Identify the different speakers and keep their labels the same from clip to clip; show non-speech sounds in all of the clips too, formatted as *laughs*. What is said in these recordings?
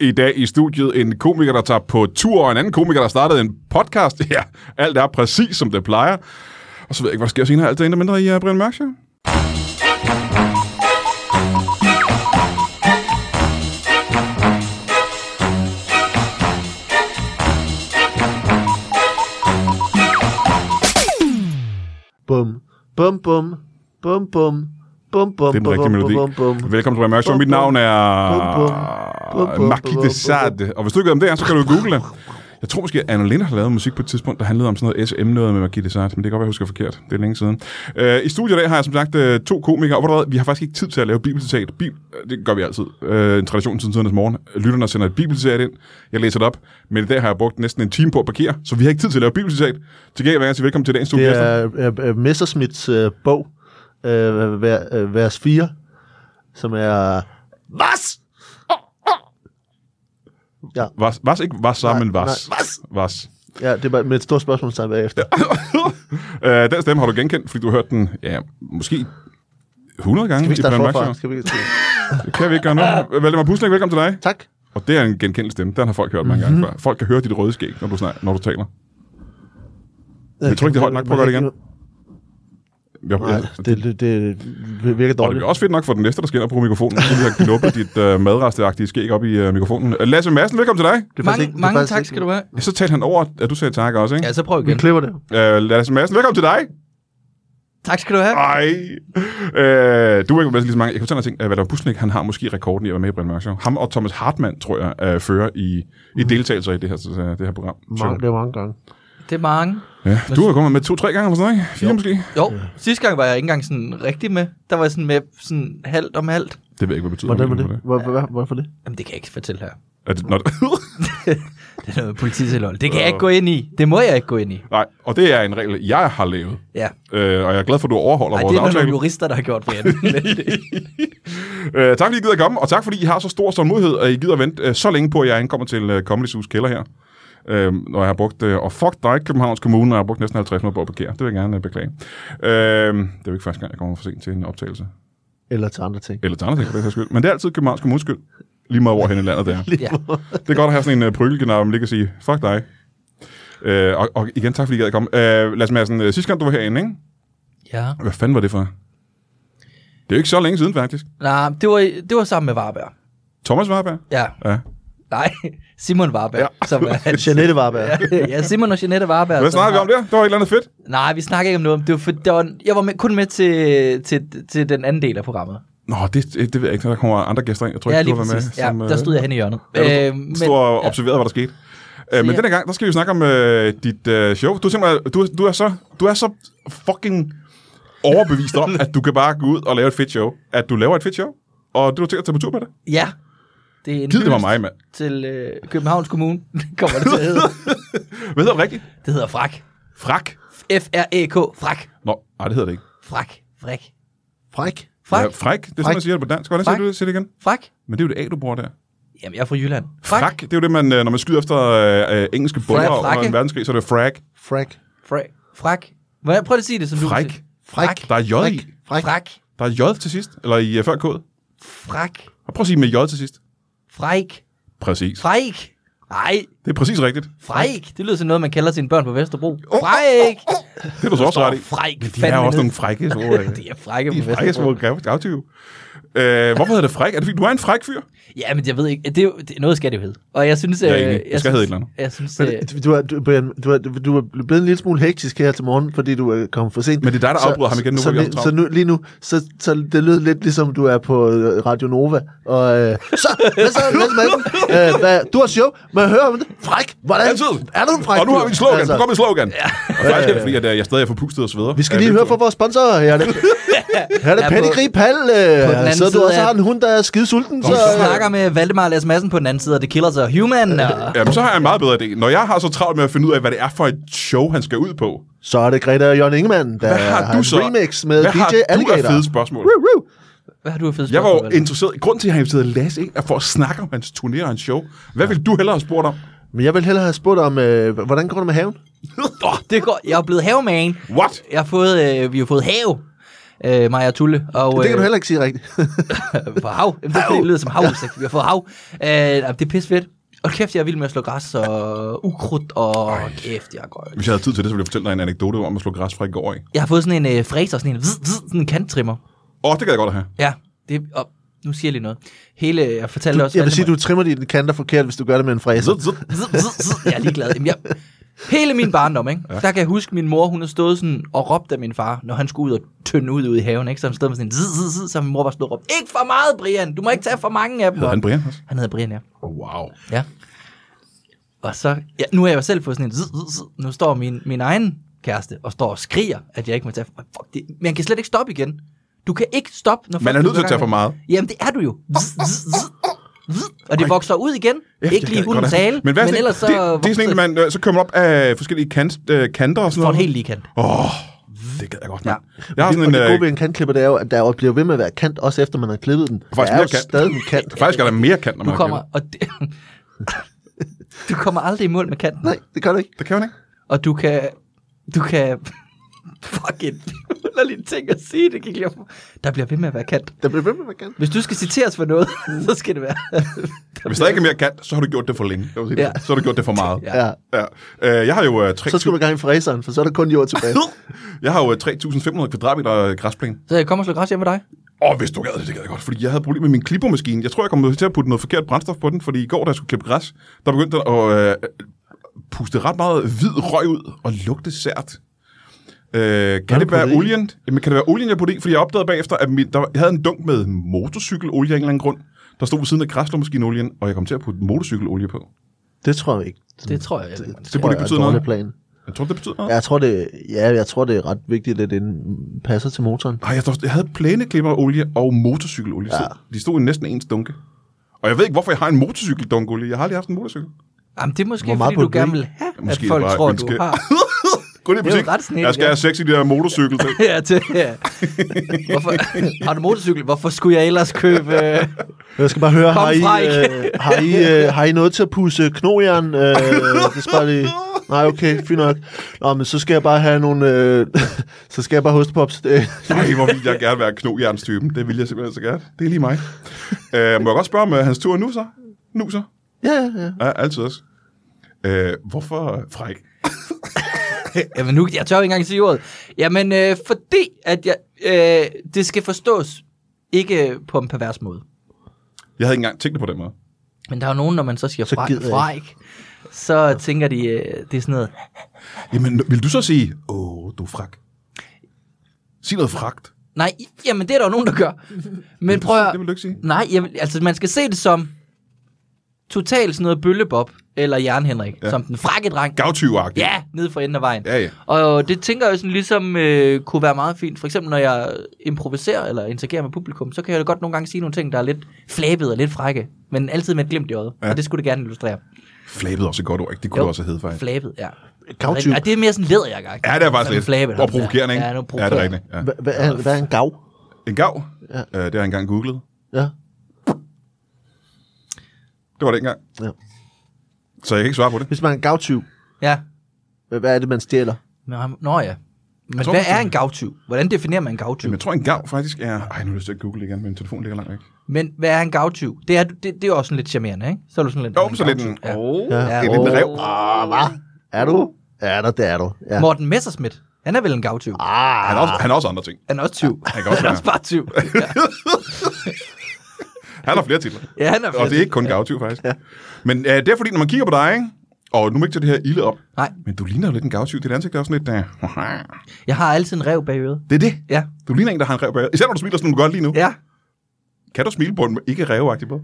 Speaker 1: i dag i studiet en komiker, der tager på tur, og en anden komiker, der startede en podcast. *laughs* Ja, alt er præcis, som det plejer. Og så ved jeg ikke, hvad der sker senere. Alt er endda mindre i uh, Brian Mørk Show.
Speaker 2: Bum, bum, bum, bum, bum, bum, bum,
Speaker 1: Det er den
Speaker 2: bum,
Speaker 1: rigtige
Speaker 2: bum,
Speaker 1: melodi.
Speaker 2: bum, bum.
Speaker 1: Velkommen til Brian Mørk Show. Mit navn er Maki Desade. Og hvis du ikke ved, om det er, så kan du google det. Jeg tror måske, at Anna Linder har lavet musik på et tidspunkt, der handlede om sådan noget SM noget med Maki Desade, men det kan godt være, jeg husker forkert. Det er længe siden. Øh, I studiet i dag har jeg som sagt øh, to komikere, og ved du hvad, vi har faktisk ikke tid til at lave bibelcitat. Bib- det gør vi altid. Øh, en tradition siden tidernes morgen. Lytterne sender et bibelcitat ind. Jeg læser det op, men i dag har jeg brugt næsten en time på at parkere, så vi har ikke tid til at lave bibelcitat. Til gengæld vil jeg sige velkommen til dagens
Speaker 2: Det
Speaker 1: studiegæster.
Speaker 2: er øh, øh, Messerschmidts øh, bog, øh, ver- øh, vers 4, som er... Vas! Ja,
Speaker 1: Vas, vas ikke vas sammen,
Speaker 2: Nej,
Speaker 1: vas.
Speaker 2: nej, vas.
Speaker 1: Vas.
Speaker 2: ja, det er bare med et stort spørgsmålstegn bagefter.
Speaker 1: *laughs* øh, den stemme har du genkendt, fordi du har hørt den, ja, måske 100 gange
Speaker 2: Skal vi
Speaker 1: i
Speaker 2: starte
Speaker 1: Brian Mørk
Speaker 2: forfra?
Speaker 1: Show.
Speaker 2: Skal vi...
Speaker 1: Det kan vi ikke gøre noget.
Speaker 2: *laughs*
Speaker 1: Valdemar Puslæk, velkommen til dig.
Speaker 2: Tak.
Speaker 1: Og det er en genkendt stemme, den har folk hørt mange
Speaker 2: Mhm.
Speaker 1: gange før. Folk kan høre dit røde skæg, når du, snak, når du taler. Jeg tror ikke, det er højt nok. Prøv at gøre det igen. Jeg,
Speaker 2: Øh, Nej,
Speaker 1: jeg,
Speaker 2: det, det, det virker
Speaker 1: og det
Speaker 2: dårligt.
Speaker 1: er også fedt nok for den næste, der skal ind og bruge mikrofonen, fordi vi har knuppet dit øh, madresteagtige skæg op i øh, mikrofonen. Øh, Lasse Madsen, velkommen til dig.
Speaker 2: Det er faktisk
Speaker 3: Mange,
Speaker 2: ikke- det er
Speaker 3: mange
Speaker 2: faktisk
Speaker 3: tak
Speaker 2: ikke-
Speaker 3: skal du have.
Speaker 1: Så talte han over, at du sagde tak også, ikke?
Speaker 3: Ja, så prøv
Speaker 2: Vi
Speaker 3: igen.
Speaker 2: klipper det.
Speaker 1: Øh, Lasse Madsen, velkommen til dig.
Speaker 3: Tak skal du have.
Speaker 1: Ej. Øh, du er ikke med lige så mange. Jeg kan fortælle dig ting. Øh, Valdemar Busnik, han har måske rekorden i at være med i Brian Mørk Show. Ham og Thomas Hartmann, tror jeg, øh, fører i, i
Speaker 3: Mm.
Speaker 1: deltagelser i det her, så- det her program.
Speaker 2: Mange, det er mange gange.
Speaker 3: Det er mange.
Speaker 1: Ja, du har kommet med to-tre gange eller sådan noget, ikke? Fire måske?
Speaker 3: Jo, sidste gang var jeg ikke engang sådan rigtig med. Der var jeg sådan med sådan halvt om halvt.
Speaker 1: Det ved jeg ikke, hvad betyder.
Speaker 2: Hvordan var
Speaker 1: men
Speaker 2: det?
Speaker 1: det?
Speaker 2: Hvor- hvor- Hvorfor det?
Speaker 3: Jamen, det kan jeg ikke fortælle her. *laughs*
Speaker 1: Er det når,
Speaker 3: Det er noget polititilhold. Det kan jeg ikke gå ind i. Det må jeg ikke gå ind i.
Speaker 1: *laughs* nej, og det er en regel, jeg har lavet.
Speaker 3: Ja.
Speaker 1: Øh, og jeg er glad for, at du overholder
Speaker 3: Ej, det
Speaker 1: vores
Speaker 3: er der nogle
Speaker 1: aftale.
Speaker 3: jurister, der har gjort,
Speaker 1: *laughs*
Speaker 3: Brian. Men det-
Speaker 1: Øh, tak fordi I gider komme, og tak fordi I har så stor tålmodighed, at I gider vente øh, så længe på, at jeg ankommer til øh, Comedy Sus kælder her. Øh, når jeg har brugt, øh, og fuck dig, Københavns Kommune, når jeg har brugt næsten 50 minutter på at parkere. Det vil jeg gerne øh, beklage. Øh, det er jo ikke første gang, jeg kommer for sent til en optagelse.
Speaker 2: Eller til andre ting.
Speaker 1: Eller til andre ting, for det skyld. Men det er altid Københavns Kommunes skyld. Lige meget hvor hen i landet det er.
Speaker 3: ja.
Speaker 1: Det er godt at have sådan en uh, pryggelgenau, man lige kan sige, fuck dig. Øh, og, og, igen, tak fordi I gad at komme. Øh, Lars Madsen, øh, sidste gang du var herinde, ikke?
Speaker 3: ja.
Speaker 1: Hvad fanden var det for? Det er jo ikke så længe siden, faktisk.
Speaker 3: Nej, det var, det var sammen med Varberg.
Speaker 1: Thomas Warberg?
Speaker 3: Ja.
Speaker 1: Ja.
Speaker 3: Nej, *laughs* Simon Varberg.
Speaker 1: Ja.
Speaker 3: Ja. Som er,
Speaker 1: *laughs*
Speaker 2: Jeanette Varberg.
Speaker 3: ja, Simon og Jeanette Varberg.
Speaker 1: Hvad
Speaker 3: som
Speaker 1: snakker vi
Speaker 3: Altså, har-
Speaker 1: om der? Det var et eller andet fedt.
Speaker 3: Nej, vi snakker ikke om noget. Det var for, det var, jeg var med, kun med til, til, til den anden del af programmet.
Speaker 1: Nå, det, det ved jeg ikke. Der kommer andre gæster ind. Jeg tror
Speaker 3: ja,
Speaker 1: ikke,
Speaker 3: lige
Speaker 1: du var med. øh,
Speaker 3: præcis. Ja, der stod jeg hen i hjørnet. Øh,
Speaker 1: Ja, du
Speaker 3: men-
Speaker 1: stod, stod og observerede, hvad der skete. Øh, men
Speaker 3: ja.
Speaker 1: den her gang, der skal vi jo snakke om øh, dit øh, show. Du er simpelthen, du, er- du, er så, du er så fucking overbevist
Speaker 3: *laughs*
Speaker 1: om, at du kan bare gå ud og lave et fedt show. At du laver et fedt show, og du har tænkt at tage på tur med det.
Speaker 3: Ja. Det er en
Speaker 1: Gid det var
Speaker 3: hyldest
Speaker 1: mig, mand.
Speaker 3: Til øh, Københavns Kommune *laughs* kommer det til at hedde.
Speaker 1: Hvad hedder det rigtigt?
Speaker 3: Det hedder frak.
Speaker 1: Frak.
Speaker 3: F-R-E-K. Frak.
Speaker 1: Nå, nej, det hedder det ikke.
Speaker 3: Frak. Frak.
Speaker 2: Fræk.
Speaker 3: Frak.
Speaker 1: Ja, fræk, det er sådan, man siger det på dansk. Hvordan siger
Speaker 3: Frak.
Speaker 1: du det? Sig det igen.
Speaker 3: Frak.
Speaker 1: Men det er jo det A, du bruger der.
Speaker 3: Jamen, jeg er fra Jylland.
Speaker 1: Frak, frak det er jo det, man, øh, når man skyder efter øh, øh, engelske bomber under
Speaker 3: frakke.
Speaker 1: en verdenskrig, så er det frag.
Speaker 2: Fræk.
Speaker 3: Frak. Frak. Hvordan, prøv lige at sige det, som
Speaker 1: Fræk.
Speaker 3: du kan sige.
Speaker 2: Fræk.
Speaker 1: Der er J i.
Speaker 2: Fræk.
Speaker 3: Frak.
Speaker 1: Der er J til sidst, eller i øh, før K'et.
Speaker 3: Frak.
Speaker 1: Og prøv at sige med J til sidst.
Speaker 3: Fræk.
Speaker 1: Præcis.
Speaker 3: Fræk. Nej.
Speaker 1: Det er præcis rigtigt.
Speaker 3: Fræk. Det lyder som noget, man kalder sine børn på Vesterbro. Fræk.
Speaker 1: Det er du så også ret i.
Speaker 3: Fræk.
Speaker 1: Men de er jo også nogle
Speaker 2: *laughs*
Speaker 1: frække små, øh,
Speaker 3: *laughs* det er frække
Speaker 1: de
Speaker 3: på
Speaker 1: er frække små
Speaker 3: Vesterbro.
Speaker 1: gav- gavtyve. Øh, hvorfor hedder det fræk? Er det fordi, du er en fræk fyr?
Speaker 3: Ja, men jeg ved ikke. Det er jo, det, noget skal det jo hedde. Og jeg synes...
Speaker 1: Jeg er
Speaker 3: øh,
Speaker 1: enig. Det skal
Speaker 3: synes-
Speaker 1: hedde et eller andet.
Speaker 3: Jeg synes... øh,
Speaker 2: Du er, du, Brian, du, er, du er blevet en lille smule hektisk her til morgen, fordi du er kommet for sent.
Speaker 1: Men det er dig, der afbryder ham igen nu,
Speaker 2: Så, så,
Speaker 1: hvor vi er så
Speaker 2: så, så nu, lige nu, så, så det lyder lidt ligesom, du er på øh, Radio Nova. Og, øh, så, hvad så, Mads Madsen? Øh, hvad, du har show, må jeg høre om det? Fræk, hvordan?
Speaker 1: Altid.
Speaker 2: Er du en fræk?
Speaker 1: Og nu har vi en slogan.
Speaker 2: Altså,
Speaker 1: Så kom med slogan. Og faktisk er det fordi, at øh, jeg stadig er forpustet og sveder.
Speaker 2: vi skal
Speaker 1: Øh,
Speaker 2: lige
Speaker 1: lidt
Speaker 2: høre
Speaker 1: tur.
Speaker 2: fra vores sponsorer
Speaker 3: *laughs*
Speaker 2: her. Er det, her er det
Speaker 3: Ja, på-
Speaker 2: Pedigree Pal,
Speaker 3: den
Speaker 2: øh,
Speaker 3: anden
Speaker 2: så du
Speaker 3: side
Speaker 2: også
Speaker 3: af-
Speaker 2: har en hund, der er skide sulten. Så,
Speaker 3: Vi snakker
Speaker 2: øh,
Speaker 3: med Valdemar Lars Madsen på den anden side, og det kilder sig human. Og...
Speaker 1: Jamen, så har jeg en meget bedre idé. Når jeg har så travlt med at finde ud af, hvad det er for et show, han skal ud på,
Speaker 2: så er det Greta og Jørgen Ingemann, der
Speaker 1: hvad har,
Speaker 2: har,
Speaker 1: du
Speaker 2: en
Speaker 1: så?
Speaker 2: remix med
Speaker 1: hvad
Speaker 2: DJ
Speaker 1: har du
Speaker 2: Alligator.
Speaker 1: af fede spørgsmål?
Speaker 2: Woo, woo.
Speaker 3: Hvad har du af fedt
Speaker 1: Jeg var jo
Speaker 3: spørgsmål, Valdemar?
Speaker 1: interesseret. Grunden til, at jeg inviterede Lasse ind, er for at snakke om hans turné og hans show. Hvad vil du hellere have spurgt om?
Speaker 2: Men jeg vil hellere have spurgt om, øh, hvordan går det med haven?
Speaker 3: Åh, det går. Jeg er blevet havemand.
Speaker 1: What?
Speaker 3: Jeg har fået, øh, vi har fået have. øh, Maja Tulle. Og,
Speaker 2: Det kan du heller ikke sige
Speaker 3: *laughs*
Speaker 2: rigtigt. *laughs*
Speaker 3: øh, for hav. Jamen, det er fordi, det lyder som hav, så vi har fået hav. Øh, jamen, det er pisse fedt. Og kæft, jeg er vild med at slå græs og ukrudt, og kæft, jeg er godt.
Speaker 1: Hvis jeg havde tid til det, så ville jeg fortælle dig en anekdote om at slå græs fra i går af.
Speaker 3: Jeg har fået sådan en øh, fræser, sådan en, vzz, vzz, sådan en kanttrimmer.
Speaker 1: Åh, oh, det kan jeg godt have.
Speaker 3: Ja, det, og nu siger jeg lige noget. Hele, jeg fortalte også...
Speaker 2: Jeg vil
Speaker 3: alle
Speaker 2: sige, du trimmer dine kanter forkert, hvis du gør det med en fræser.
Speaker 1: Zut, zut.
Speaker 3: Zzz, zzz, zzz. Jeg er ligeglad. Jamen, jeg, hele min barndom, ikke? Ja. der kan jeg huske, min mor hun har stået sådan og råbt af min far, når han skulle ud og tynde ud ude i haven. Ikke? Så han stod med sådan en zzz, zzz, zzz, så min mor var stået og råbte, ikke for meget, Brian, du må ikke tage for mange af dem.
Speaker 1: Hedder han Brian også?
Speaker 3: Han hedder Brian, ja.
Speaker 1: Oh, wow.
Speaker 3: ja. Og så, ja, nu har jeg jo selv fået sådan en zzz, zzz, zzz. nu står min, min egen kæreste og står og skriger, at jeg ikke må tage for Fuck, det, men han kan slet ikke stoppe igen. Du kan ikke stoppe, når
Speaker 1: Man
Speaker 3: folk
Speaker 1: er nødt
Speaker 3: går
Speaker 1: til
Speaker 3: i
Speaker 1: at tage
Speaker 3: gang
Speaker 1: for
Speaker 3: med-
Speaker 1: meget.
Speaker 3: Jamen, det er du jo. Zzz, zzz, zzz, zzz. Og det vokser ud igen. ikke lige hunden tale, men,
Speaker 1: hvad er sådan
Speaker 3: men
Speaker 1: en-
Speaker 3: ellers så...
Speaker 1: Det, det er sådan en, man øh, så kommer op af forskellige kant, øh, kanter og sådan
Speaker 3: For
Speaker 1: noget.
Speaker 3: en helt lige kant.
Speaker 1: Åh, oh, det gad jeg godt, mand. Ja. Jeg har
Speaker 2: Og
Speaker 1: sådan en...
Speaker 2: det gode ved
Speaker 1: Øh,
Speaker 2: en kantklipper, det er jo, at der jo bliver ved med at være kant, også efter man har klippet den. Der
Speaker 1: faktisk
Speaker 2: er jo
Speaker 1: mere kant.
Speaker 2: stadig en
Speaker 1: *laughs*
Speaker 2: kant.
Speaker 1: faktisk er der mere kant, når
Speaker 3: Du
Speaker 1: man
Speaker 3: kommer,
Speaker 1: har
Speaker 3: og det, *laughs* du kommer aldrig i mål med kanten.
Speaker 2: Nej, det kan du ikke.
Speaker 1: kævet. Det kan man ikke.
Speaker 3: Og du kan... Du kan... *laughs* Fuck et *laughs* underligt ting at sige, det gik lige op. Der bliver ved med at være kant.
Speaker 2: Der bliver ved med at være kant.
Speaker 3: Hvis du skal citeres for noget, *laughs* så skal det være...
Speaker 1: Hvis der ikke er mere kant, så har du gjort det for længe. Jeg vil sige det.
Speaker 3: Ja.
Speaker 1: Så har du gjort det for meget.
Speaker 3: Ja.
Speaker 2: Ja.
Speaker 1: Ja. Øh, jeg har jo øh, tre
Speaker 2: Så skal du i gang i fræseren, for så er der kun
Speaker 1: *laughs*
Speaker 2: jord tilbage.
Speaker 1: Jeg har jo øh, 3.500 kvadratmeter øh, græsplæne.
Speaker 3: Så jeg kommer og slår græs hjem med dig.
Speaker 1: Og hvis du gad det, det gad jeg godt, fordi jeg havde problemer med min klippermaskine. Jeg tror, jeg kom til at putte noget forkert brændstof på den, fordi i går, da jeg skulle klippe græs, der begyndte den at øh, puste ret meget hvid røg ud og lugte sært. Øh, kan, det
Speaker 2: du puttet
Speaker 1: være
Speaker 2: i?
Speaker 1: olien? Jamen, kan det være olien, jeg puttede i? Fordi jeg opdagede bagefter, at min, der, var- jeg havde en dunk med motorcykelolie af en eller anden grund, der stod ved siden af græslåmaskinolien, og jeg kom til at putte motorcykelolie på.
Speaker 2: Det tror jeg ikke.
Speaker 3: Det tror jeg, jeg det,
Speaker 1: Det må
Speaker 2: tror
Speaker 1: det
Speaker 2: jeg er en
Speaker 1: betyde
Speaker 2: dårlig
Speaker 1: noget.
Speaker 2: plan.
Speaker 1: Jeg tror, det betyder noget.
Speaker 2: Ja, Jeg tror, det, ja, jeg tror, det er ret vigtigt, at den passer til motoren.
Speaker 1: Nej, jeg, tror- jeg havde plæneklipperolie og motorcykelolie. Ja. De stod i næsten ens dunke. Og jeg ved ikke, hvorfor jeg har en motorcykeldunkolie. Jeg har aldrig haft en motorcykel.
Speaker 3: Jamen, det er måske,
Speaker 2: Hvor meget
Speaker 3: fordi
Speaker 2: på
Speaker 3: du
Speaker 2: et
Speaker 3: gerne
Speaker 2: ring?
Speaker 3: vil have, at
Speaker 1: Måske er det
Speaker 3: folk
Speaker 1: bare
Speaker 3: tror,
Speaker 1: et
Speaker 3: du
Speaker 1: ønske.
Speaker 3: har... *laughs*
Speaker 1: Kun i
Speaker 3: er jo
Speaker 1: butik.
Speaker 3: ret snedigt,
Speaker 1: Jeg skal
Speaker 3: ja.
Speaker 1: have sex i det her motorcykel. ting.
Speaker 3: Ja, til, ja. Hvorfor, har du motorcykel? Hvorfor skulle jeg ellers købe... Øh,
Speaker 2: Jeg skal bare høre,
Speaker 3: Kom
Speaker 2: har I,
Speaker 3: fra,
Speaker 2: øh, har, I, øh, har I noget til at pusse knojern? Øh, det skal bare lige... Nej, okay, fint nok. Nå, men så skal jeg bare have nogle... Øh, *laughs* så skal jeg bare hostepops. Det,
Speaker 1: Nej, hvor vil jeg gerne være knogjernstypen. Det vil jeg simpelthen så gerne. Det er lige mig. Øh, må jeg godt spørge om øh, hans tur nu så? Nu så?
Speaker 2: ja, ja, ja.
Speaker 1: Ja, altid også. Øh, hvorfor øh, fræk?
Speaker 3: Jamen nu, jeg tør ikke engang sige ordet. Jamen, øh, fordi at jeg, øh, det skal forstås ikke på en pervers måde.
Speaker 1: Jeg havde ikke engang tænkt det på den måde.
Speaker 3: Men der er jo nogen, når man så siger
Speaker 2: Så
Speaker 3: fra,
Speaker 2: gider jeg
Speaker 3: fra ikke, så tænker de, øh, det er sådan noget.
Speaker 1: Jamen, vil du så sige, åh, du er frak? Sig noget fragt.
Speaker 3: Nej, i- jamen det er der jo nogen,
Speaker 1: *laughs*
Speaker 3: der gør. Men prøv at,
Speaker 1: Det vil du ikke sige.
Speaker 3: nej, jamen, altså man skal se det som totalt sådan noget bøllebob eller Jern Henrik, ja. som den frakke dreng.
Speaker 1: Gavtyv-agtigt.
Speaker 3: Ja, nede for enden af vejen.
Speaker 1: Ja, ja.
Speaker 3: Og det tænker jeg sådan ligesom øh, kunne være meget fint. For eksempel når jeg improviserer eller interagerer med publikum, så kan jeg jo godt nogle gange sige nogle ting, der er lidt flabede og lidt frække, men altid med et glimt i øjet. Ja. Og det skulle det gerne illustrere.
Speaker 1: Flabet er også et godt ord, ikke? Det kunne
Speaker 3: Jo.
Speaker 1: det også hedde, faktisk.
Speaker 3: Flabet, ja.
Speaker 2: Gavtyv.
Speaker 3: Og det er mere sådan leder jeg gang.
Speaker 1: Ja, det er faktisk lidt.
Speaker 3: Flabet,
Speaker 1: og provokerende, ikke?
Speaker 3: Ja, nu
Speaker 1: ja, det er
Speaker 3: provokerende.
Speaker 1: rigtigt. Ja.
Speaker 2: Hva- Hvad er, hvad er en gav?
Speaker 1: En gav,
Speaker 2: Ja.
Speaker 1: ja. øh, det har jeg engang googlet.
Speaker 2: Ja.
Speaker 1: Det var det ikke engang.
Speaker 2: Ja.
Speaker 1: Så jeg kan ikke svare på det.
Speaker 2: Hvis man er en gavtyv,
Speaker 3: Ja.
Speaker 2: hvad hvad er det, man stjæler?
Speaker 3: Men, ham- nå ja. Men
Speaker 1: tror,
Speaker 3: hvad
Speaker 1: man
Speaker 3: er
Speaker 1: skal-
Speaker 3: en gavtyv? Hvordan definerer man en gavtyv?
Speaker 1: Jamen, jeg tror, en gav faktisk er... Ej, nu har jeg lyst til at google igen, men min telefon ligger langt væk.
Speaker 3: Men hvad er en gavtyv? Det er, det, det er også sådan lidt charmerende, ikke? Så er du sådan lidt...
Speaker 1: Jo,
Speaker 3: en
Speaker 1: så lidt en...
Speaker 3: gavtyv. Ja.
Speaker 1: Åh,
Speaker 2: Ja.
Speaker 1: en lille
Speaker 2: Åh.
Speaker 1: rev.
Speaker 2: Åh, hvad? Er du? Er der, det er du. Ja.
Speaker 3: Morten Messerschmidt, han er vel en gavtyv?
Speaker 2: Ah,
Speaker 1: Han har, også, han har også andre ting.
Speaker 3: Han er også tyv.
Speaker 1: Han kan også
Speaker 3: *laughs* Han er også
Speaker 1: være.
Speaker 3: bare tyv. Ja.
Speaker 1: Han har flere titler.
Speaker 3: Ja, han er
Speaker 1: Og det er ikke kun gavtyv, faktisk. Men øh, det er fordi, når man kigger på dig, ikke? Og nu er jeg ikke til det her ilde op.
Speaker 3: Nej,
Speaker 1: Men du ligner jo lidt en gavtyv. Dit ansigt er også lidt... Uh...
Speaker 3: jeg har altid en rev bag øret.
Speaker 1: Det er det.
Speaker 3: Ja,
Speaker 1: Du ligner en, der har en rev bag. Især når du smiler, som du gør lige nu.
Speaker 3: ja.
Speaker 1: Kan du smile på en ikke revagtig måde?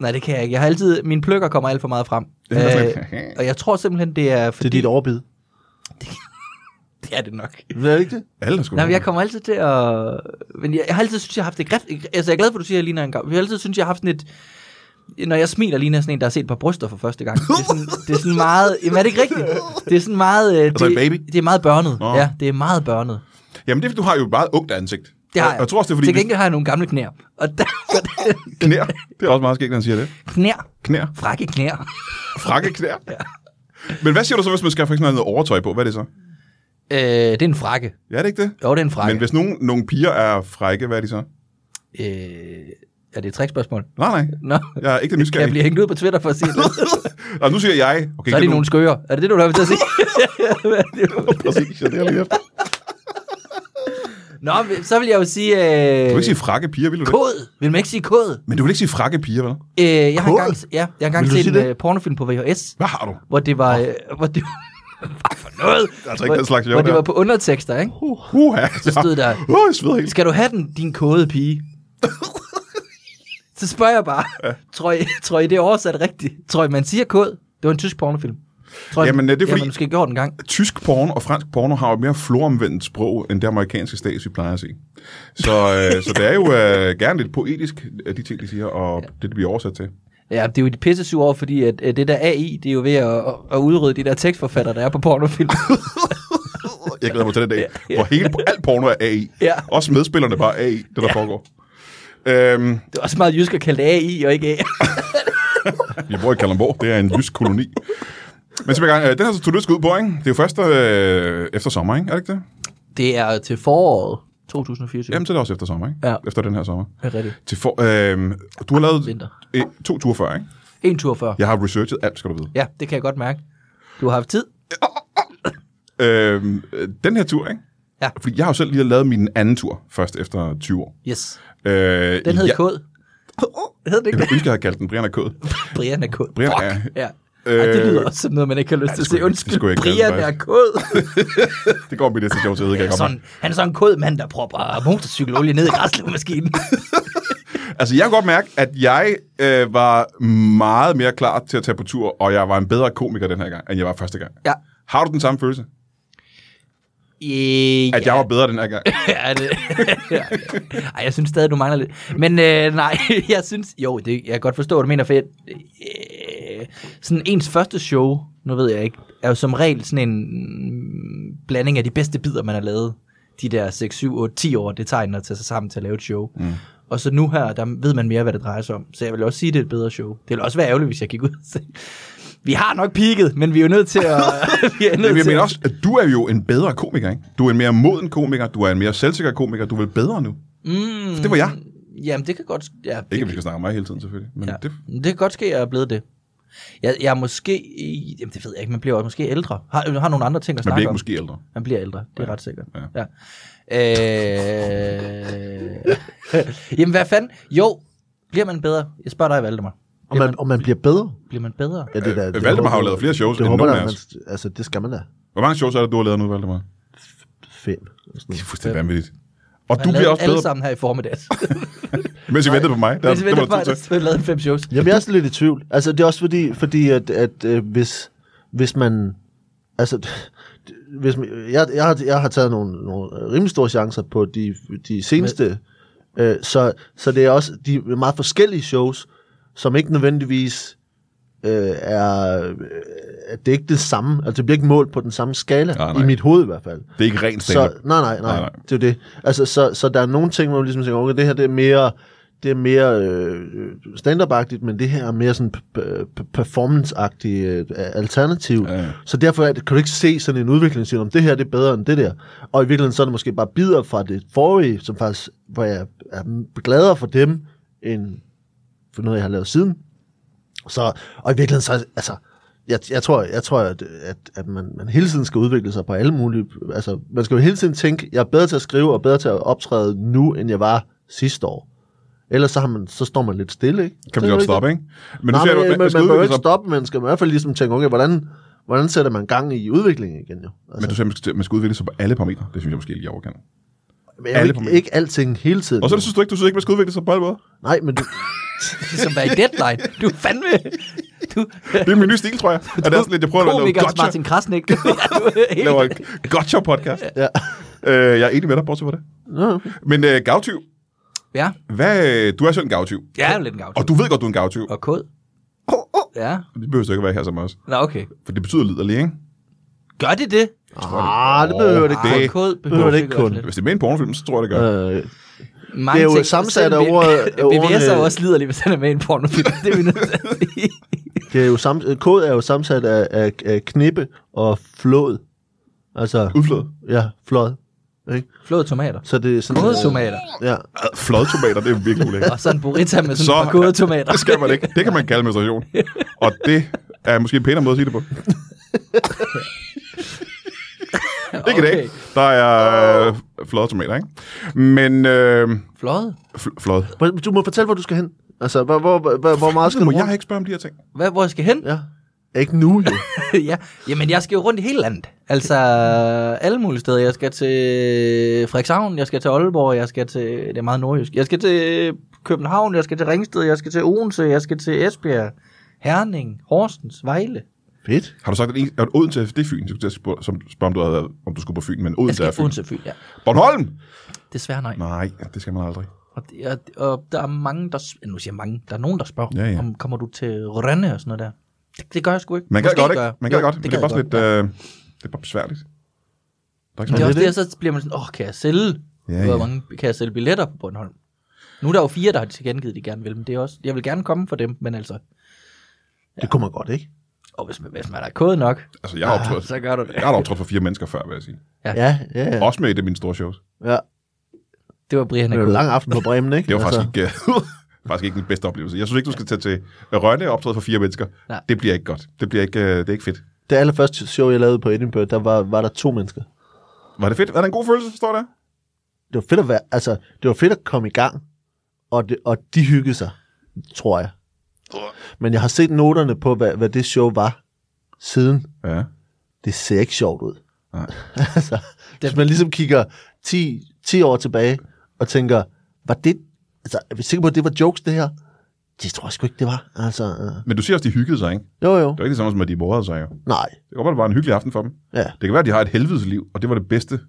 Speaker 3: Nej, det kan jeg ikke. Jeg har altid, mine pløkker kommer alt for meget frem. Øh,
Speaker 1: Det er sådan lidt-
Speaker 3: og jeg tror simpelthen, det er
Speaker 2: det er
Speaker 3: fordi...
Speaker 2: dit overbid.
Speaker 3: det er det nok.
Speaker 2: Er det ikke det?
Speaker 1: Alle har sgu
Speaker 3: Nej, men jeg kommer altid til at... Men jeg, jeg har altid synes, jeg har haft det grift... Altså, jeg er glad for, at du siger, at jeg ligner en gang. Jeg har altid synes, jeg har haft sådan et... Når jeg smiler, ligner jeg sådan en, der har set et par bryster for første gang. Det er sådan, det er sådan meget... Jamen, er det ikke rigtigt? Det er sådan meget... Øh,
Speaker 1: Altså
Speaker 3: det,
Speaker 1: en baby?
Speaker 3: det er meget børnet.
Speaker 1: Nå.
Speaker 3: Ja, det er meget børnet.
Speaker 1: Jamen, det er, fordi du har jo et meget ungt ansigt.
Speaker 3: Det har
Speaker 1: Og
Speaker 3: jeg.
Speaker 1: Jeg tror også, det er, fordi
Speaker 3: Til
Speaker 1: det
Speaker 3: gengæld har jeg nogle gamle knæer. Og der, *laughs*
Speaker 1: knær. Det er også meget skægt, når han siger det.
Speaker 3: knæer.
Speaker 1: Knær.
Speaker 3: Frække knæer.
Speaker 1: Frakke knær. Men hvad siger du så, hvis man skal for eksempel have noget overtøj på? Hvad er det så?
Speaker 3: Øh, det er en frakke.
Speaker 1: Ja, det er ikke det?
Speaker 3: Jo, det er en frakke.
Speaker 1: Men hvis nogen, nogle piger er frække, hvad er de så?
Speaker 3: Øh, er det et trickspørgsmål?
Speaker 1: Nej, nej.
Speaker 3: Nå,
Speaker 1: Jeg er ikke
Speaker 3: kan jeg
Speaker 1: nysgerrig.
Speaker 3: blive hængt ud på Twitter for at sige det?
Speaker 1: Og nu siger jeg... Okay,
Speaker 3: Så er
Speaker 1: det
Speaker 3: de
Speaker 1: *laughs*
Speaker 3: nogle skøre. Er det det, du har til at sige? *laughs* Hvad er det, du-
Speaker 1: Præcis, ja, det er lige efter.
Speaker 3: Nå, men så vil jeg jo sige...
Speaker 1: Du
Speaker 3: Øh,
Speaker 1: vil ikke sige frakke piger, vil du det?
Speaker 3: kod. Vil man ikke sige kod?
Speaker 1: Men du vil ikke sige frakke piger, vel?
Speaker 3: Øh, jeg, har
Speaker 2: Kod?
Speaker 3: engang, ja, jeg har engang
Speaker 2: Vil du
Speaker 3: set en
Speaker 2: sige det?
Speaker 3: øh, pornofilm på VHS,
Speaker 1: Hvad har du?
Speaker 3: hvor det var... Øh, hvor det *laughs* Hvad for noget?
Speaker 1: Altså ikke den slags
Speaker 3: hvor
Speaker 1: job
Speaker 3: det
Speaker 1: der.
Speaker 3: var på undertekster, ikke?
Speaker 1: Uha.
Speaker 3: Så stod der,
Speaker 1: *laughs* Åh, jeg sveder helt.
Speaker 3: skal du have den, din kode
Speaker 1: *laughs*
Speaker 3: pige? så spørger jeg bare, tror I, *laughs* tror I det er oversat rigtigt? Tror I, man siger kod? Det var en tysk pornofilm. Tror I,
Speaker 1: Jamen, er det fordi-
Speaker 3: Jamen, måske gjorde den gang.
Speaker 1: Tysk porno og fransk porno har jo et mere floromvendt sprog, end det amerikanske stats, vi plejer at se. Så, øh, så det er jo øh, gerne lidt poetisk, øh, de ting, de siger, og det, det bliver oversat til.
Speaker 3: Ja, det er jo de pisse syv år, fordi at, at det der AI, det er jo ved at, at- at udrydde de der tekstforfatter, der er på
Speaker 1: *laughs*
Speaker 3: pornofilm.
Speaker 1: Jeg glæder mig til den dag, hvor hele, alt porno er AI.
Speaker 3: Ja.
Speaker 1: Også medspillerne bare er AI, det der foregår. Øhm,
Speaker 3: det er også meget jysk at kalde det AI og ikke AI.
Speaker 1: jeg bor i Kalamborg, det er en jysk koloni. Men som jeg gang, øh, den her så tog du skal ud på, ikke? Det er jo først øh, efter sommer, ikke? Er det ikke det?
Speaker 3: Det er til foråret 2024.
Speaker 1: Jamen, så er det også efter sommer, ikke?
Speaker 3: Ja.
Speaker 1: Efter den her sommer.
Speaker 3: Det er rigtigt.
Speaker 1: Til for, øh, du har lavet
Speaker 3: Vinter.
Speaker 1: øh, to ture før, ikke?
Speaker 3: En tur før. Ja.
Speaker 1: Jeg har researchet alt, skal du vide.
Speaker 3: ja, det kan jeg godt mærke. Du har haft tid.
Speaker 1: Øhm, øh, den her tur, ikke?
Speaker 3: Ja.
Speaker 1: Fordi jeg har jo selv lige lavet min anden tur, først efter 20 år.
Speaker 3: Yes.
Speaker 1: Øh,
Speaker 3: Den hed
Speaker 1: jeg,
Speaker 3: ja. Kod. *laughs* Oh, hed den
Speaker 1: Jeg *laughs*
Speaker 3: ikke det?
Speaker 1: ville ønske, jeg havde kaldt den Brian er kod.
Speaker 3: Brian er kod.
Speaker 1: Brian
Speaker 3: Fuck.
Speaker 1: er-
Speaker 3: Ja. Ej, det
Speaker 1: Øh,
Speaker 3: lyder også som noget, man ikke har lyst
Speaker 1: det
Speaker 3: til at
Speaker 1: skulle
Speaker 3: sige.
Speaker 1: jeg- det skulle
Speaker 3: Undskyld,
Speaker 1: jeg ikke kalde
Speaker 3: Brian
Speaker 1: det,
Speaker 3: er kod.
Speaker 1: Det går mit næste show til, kan
Speaker 3: Han er
Speaker 1: jeg godt
Speaker 3: *laughs* sådan, han er sådan en kod mand, der propper motorcykelolie ned i
Speaker 1: *laughs*
Speaker 3: græslevmaskinen.
Speaker 1: mærke. Altså, jeg kan godt mærke, at jeg øh, var meget mere klar til at tage på tur, og jeg var en bedre komiker den her gang, end jeg var første gang.
Speaker 3: ja.
Speaker 1: Har du den samme følelse?
Speaker 3: Øh,
Speaker 1: At
Speaker 3: ja.
Speaker 1: jeg var bedre den her gang?
Speaker 3: *laughs* Ja, det. *laughs* ja. Ej, jeg synes stadig, du mangler lidt. Men øh, nej, *laughs* jeg synes... Jo, det, jeg kan godt forstå, hvad du mener, for jeg, øh, sådan ens første show, nu ved jeg ikke, er jo som regel sådan en mm, blanding af de bedste bidder, man har lavet. De der 6, 7, 8, 10 år, det tegner til sig sammen til at lave et show. Mm. Og så nu her, der ved man mere, hvad det drejer sig om. Så jeg vil også sige, det er et bedre show. Det ville også være ærgerligt, hvis jeg gik ud og sagde, vi har nok peaked, men vi er jo nødt til at... *laughs* vi er nødt
Speaker 1: Men jeg
Speaker 3: til
Speaker 1: mener
Speaker 3: at-
Speaker 1: også, at du er jo en bedre komiker, ikke? Du er en mere moden komiker, du er en mere selvsikker komiker, du er vel bedre nu? Mm. Det var jeg.
Speaker 3: Jamen, det kan godt... Ja, det
Speaker 1: Ikke, at vi skal snakke om mig hele tiden, selvfølgelig. Men ja.
Speaker 3: Ja.
Speaker 1: det,
Speaker 3: Det kan godt ske, at jeg er blevet det. Jeg, jeg er måske... i- Jamen, det ved jeg ikke. Man bliver jo måske ældre. Har, har nogle andre ting at
Speaker 1: man
Speaker 3: snakke
Speaker 1: bliver ikke
Speaker 3: om.
Speaker 1: måske ældre.
Speaker 3: Man bliver ældre. Det er ret sikkert.
Speaker 1: Ja.
Speaker 3: Ja. Øh... *laughs* Jamen, hvad fanden? Jo, bliver man bedre? Jeg spørger dig, Valdemar.
Speaker 2: Om man, om man bliver bedre?
Speaker 3: Bliver man bedre?
Speaker 2: Ja, det, der,
Speaker 1: Øh, Valdemar har jo lavet flere shows
Speaker 2: det
Speaker 1: end
Speaker 2: håber
Speaker 1: nogen
Speaker 2: jeg,
Speaker 1: af
Speaker 2: man, altså, det skal man da.
Speaker 1: Hvor mange shows er det, du har lavet nu, Valdemar?
Speaker 2: Fem. og sådan
Speaker 1: Det
Speaker 2: noget.
Speaker 1: er fuldstændig vanvittigt. Og
Speaker 3: Man
Speaker 1: du bliver
Speaker 3: lavede
Speaker 1: også
Speaker 3: alle
Speaker 1: bedre,
Speaker 3: sammen her i
Speaker 1: *laughs*
Speaker 3: formiddags.
Speaker 1: mens I ventede på mig. Der,
Speaker 3: Hvis vi
Speaker 1: der,
Speaker 3: venter på,
Speaker 1: var der
Speaker 3: at der
Speaker 1: tid til.
Speaker 3: stod lavet fem shows.
Speaker 2: Jamen, jeg er sådan lidt i tvivl. Altså, det er også fordi, fordi at, at øh, hvis, hvis man... Altså, *laughs* hvis man, jeg, jeg, har, jeg har taget nogle, nogle rimelig store chancer på de, de seneste, øh, så, så det er også de meget forskellige shows, som ikke nødvendigvis øh, er... øh, at Det er ikke det samme, altså det bliver ikke målt på den samme skala,
Speaker 1: Nej,
Speaker 2: nej,
Speaker 1: nej.
Speaker 2: nej. i mit hoved i hvert fald.
Speaker 1: Det er ikke rent
Speaker 2: Så,
Speaker 1: stand
Speaker 2: nej, nej, nej,
Speaker 1: Nej,
Speaker 2: nej,
Speaker 1: nej.
Speaker 2: nej. Det er jo det. Altså, så, så der er nogle ting, hvor man ligesom tænker, okay, det her det er mere, det er mere øh, standardagtigt, men det her er mere sådan p- p- performanceagtigt øh, alternativ.
Speaker 1: Ja, ja.
Speaker 2: Så derfor er det, kan du ikke se sådan en udvikling, siger, om det her det er bedre end det der. Og i virkeligheden så er det måske bare bidder fra det forrige, som faktisk, hvor jeg er gladere for dem, end for noget, jeg har lavet siden. Så, og i virkeligheden, så, altså, jeg, jeg tror, jeg tror at, at, at man, man hele tiden skal udvikle sig på alle mulige... Altså, man skal jo hele tiden tænke, jeg er bedre til at skrive og bedre til at optræde nu, end jeg var sidste år. Ellers så, har man, så står man lidt stille, ikke?
Speaker 1: Kan
Speaker 2: Det
Speaker 1: man
Speaker 2: er
Speaker 1: godt
Speaker 2: jo ikke-
Speaker 1: stoppe, ikke? Men
Speaker 2: Nej,
Speaker 1: siger
Speaker 2: men,
Speaker 1: du,
Speaker 2: man, man,
Speaker 1: skal
Speaker 2: man bør jo
Speaker 1: udvikle
Speaker 2: ikke
Speaker 1: sig-
Speaker 2: stoppe, man skal i hvert fald ligesom tænke, okay, hvordan, hvordan sætter man gang i udviklingen igen, jo?
Speaker 1: Men
Speaker 2: Altså,
Speaker 1: du sagde, man skal, man skal udvikle sig på alle parametre. Det synes jeg måske er lige overkendt.
Speaker 2: men jeg
Speaker 1: alle
Speaker 2: vil
Speaker 1: på
Speaker 2: ikke,
Speaker 1: min-
Speaker 2: ikke alting hele tiden.
Speaker 1: Og så
Speaker 2: jo.
Speaker 1: synes du ikke, du synes ikke, man skal udvikle sig på alle måder.
Speaker 2: Nej, men du,
Speaker 1: *laughs*
Speaker 3: Ligesom være i deadline. Du er fandme... Du,
Speaker 1: Det er min nye stil, tror jeg. At det er sådan lidt, jeg prøver at lave
Speaker 3: komikerens
Speaker 1: gotcha.
Speaker 3: Martin
Speaker 1: *laughs*
Speaker 3: Krasnik. Ja, du er helt-
Speaker 1: Laver en gotcha-podcast.
Speaker 2: ja.
Speaker 1: Øh, jeg er enig med dig, bortset fra det.
Speaker 2: Nå,
Speaker 1: Men øh, gavtyv,
Speaker 3: Ja,
Speaker 1: hvad, du er selv en gavtyv.
Speaker 3: jeg er jo lidt en gavt.
Speaker 1: Og du ved godt, du er en gavtyv.
Speaker 3: Og kod. Ja.
Speaker 1: Det behøver du ikke at være her som os.
Speaker 3: Nå, okay.
Speaker 1: For det betyder liderlig, ikke?
Speaker 3: Gør det det?
Speaker 2: ah, det behøver det ikke.
Speaker 1: Det-
Speaker 3: Det kod
Speaker 2: behøver det ikke
Speaker 3: sikkert
Speaker 2: kun.
Speaker 3: også lidt.
Speaker 1: Hvis det er med i en pornofilm, så tror jeg, det gør.
Speaker 2: Øh,
Speaker 3: Mange
Speaker 2: Det er jo
Speaker 3: ting-
Speaker 2: sammensat
Speaker 3: selv
Speaker 2: af
Speaker 3: B- *laughs*
Speaker 2: ordet- af
Speaker 3: BBS er jo
Speaker 2: ordene-
Speaker 3: også liderlig, hvis han er med i en *laughs* pornofilm. Det er vi nødt til at sige.
Speaker 2: Det er jo sam- kod er jo sammensat af, af, af knippe og flåd. Altså,
Speaker 1: Udflået.
Speaker 2: ja, flot. Ikke?
Speaker 3: Flåede tomater.
Speaker 2: Så det er sådan...
Speaker 3: Både
Speaker 2: øh,
Speaker 3: tomater.
Speaker 2: Ja.
Speaker 1: Flodtomater, det er virkelig ulækkert.
Speaker 3: Og så en burrito med sådan
Speaker 1: Så-
Speaker 3: så, gode tomater.
Speaker 1: Det skal man ikke. Det kan man kalde menstruation. Og det er måske en pænere måde at
Speaker 3: *laughs*
Speaker 1: sige det på. Ikke okay. i dag. Der er øh, fløde tomater, ikke? Men øh,
Speaker 3: Fløde?
Speaker 1: fl- fløde.
Speaker 2: Hvor- Du må fortælle, hvor du skal hen. Altså, hvor, hvor, hvor, hvor meget skal du
Speaker 1: Må jeg
Speaker 2: rundt?
Speaker 1: ikke spørge om de her ting?
Speaker 3: Hvad, hvor jeg skal hen?
Speaker 2: Ja. Ikke nu, jo.
Speaker 3: *laughs* ja. Jamen, jeg skal jo rundt i hele landet. Altså, alle mulige steder. Jeg skal til Frederikshavn, jeg skal til Aalborg, jeg skal til... Det er meget nordjysk. Jeg skal til København, jeg skal til Ringsted, jeg skal til Odense, jeg skal til Esbjerg, Herning, Horsens, Vejle.
Speaker 2: Fedt.
Speaker 1: Har du sagt, at, en, at Odense er- det er Fyn? Så skulle jeg spørge, som- spørge, om du, havde, om du skulle på Fyn, men
Speaker 3: Jeg
Speaker 1: Odense er
Speaker 3: skal til
Speaker 1: Fyn.
Speaker 3: Odense, Fyn, ja.
Speaker 1: Bornholm!
Speaker 3: Desværre nej.
Speaker 1: Nej, det skal man aldrig.
Speaker 3: Og, det- og, og der er mange, der... sp- Nu siger jeg mange. Der er nogen, der spørger,
Speaker 1: Ja, ja.
Speaker 3: om kommer du til Rønne og sådan noget der. Det, det gør jeg sgu ikke.
Speaker 1: Man kan
Speaker 3: Måske
Speaker 1: godt,
Speaker 3: gør
Speaker 1: ikke?
Speaker 3: jeg.
Speaker 1: Man kan
Speaker 3: Jo,
Speaker 1: godt, men det
Speaker 3: kan
Speaker 1: er
Speaker 3: jeg
Speaker 1: bare sådan lidt... Øh, det er bare besværligt. Der er ikke så
Speaker 3: Men det er
Speaker 1: meget.
Speaker 3: også det, og så bliver man sådan, åh, kan jeg sælge?
Speaker 1: Ja,
Speaker 3: Ja,
Speaker 1: ja.
Speaker 3: Hvor mange kan jeg sælge billetter på Bornholm? Nu er der jo fire, der har tilkendegivet, de gerne vil, men det er også, jeg vil gerne komme for dem, men altså,
Speaker 2: Det kunne man godt, ikke?
Speaker 3: og hvis man, hvis man er kode nok, ah,
Speaker 1: Altså, jeg har optrådt,
Speaker 3: så gør du det.
Speaker 1: jeg har da optrådt for fire mennesker før, vil jeg sige.
Speaker 2: Ja, ja, ja.
Speaker 1: Også med et af mine store shows.
Speaker 2: ja.
Speaker 3: Det var Brian
Speaker 2: Det var
Speaker 3: Akko.
Speaker 2: en lang aften på Bremen, ikke?
Speaker 3: Altså-
Speaker 2: Altså,
Speaker 1: Det var faktisk, ikke, øh, *laughs* faktisk ikke den bedste oplevelse. Jeg synes ikke, du skal tage til Rønne og optræde for fire mennesker.
Speaker 3: Nej.
Speaker 1: Det bliver ikke godt. Det, bliver ikke, øh, det er ikke fedt.
Speaker 2: Det allerførste show, jeg lavede på Edinburgh, der var, var der to mennesker.
Speaker 1: Var det fedt? Var det en god følelse, forstår du det?
Speaker 2: Det var fedt at være, altså, det var fedt at komme i gang, og, det, og de hyggede sig, tror jeg. Men jeg har set noterne på, hvad, hvad det show var siden.
Speaker 1: Ja.
Speaker 2: Det ser ikke sjovt ud.
Speaker 1: Nej.
Speaker 2: *laughs* altså, hvis man ligesom kigger 10, 10 år tilbage og tænker, var det, altså, er vi sikre på, at det var jokes, det her? Det tror jeg sgu ikke, det var. Altså, øh.
Speaker 1: Men du siger også, de hyggede sig, ikke?
Speaker 2: jo jo,
Speaker 1: Det var ikke det samme som, at de morede sig, jo.
Speaker 2: nej.
Speaker 1: Det kan godt være, det var en hyggelig aften for dem.
Speaker 2: Ja.
Speaker 1: Det kan være, at de har et helvedes liv, og det var det bedste.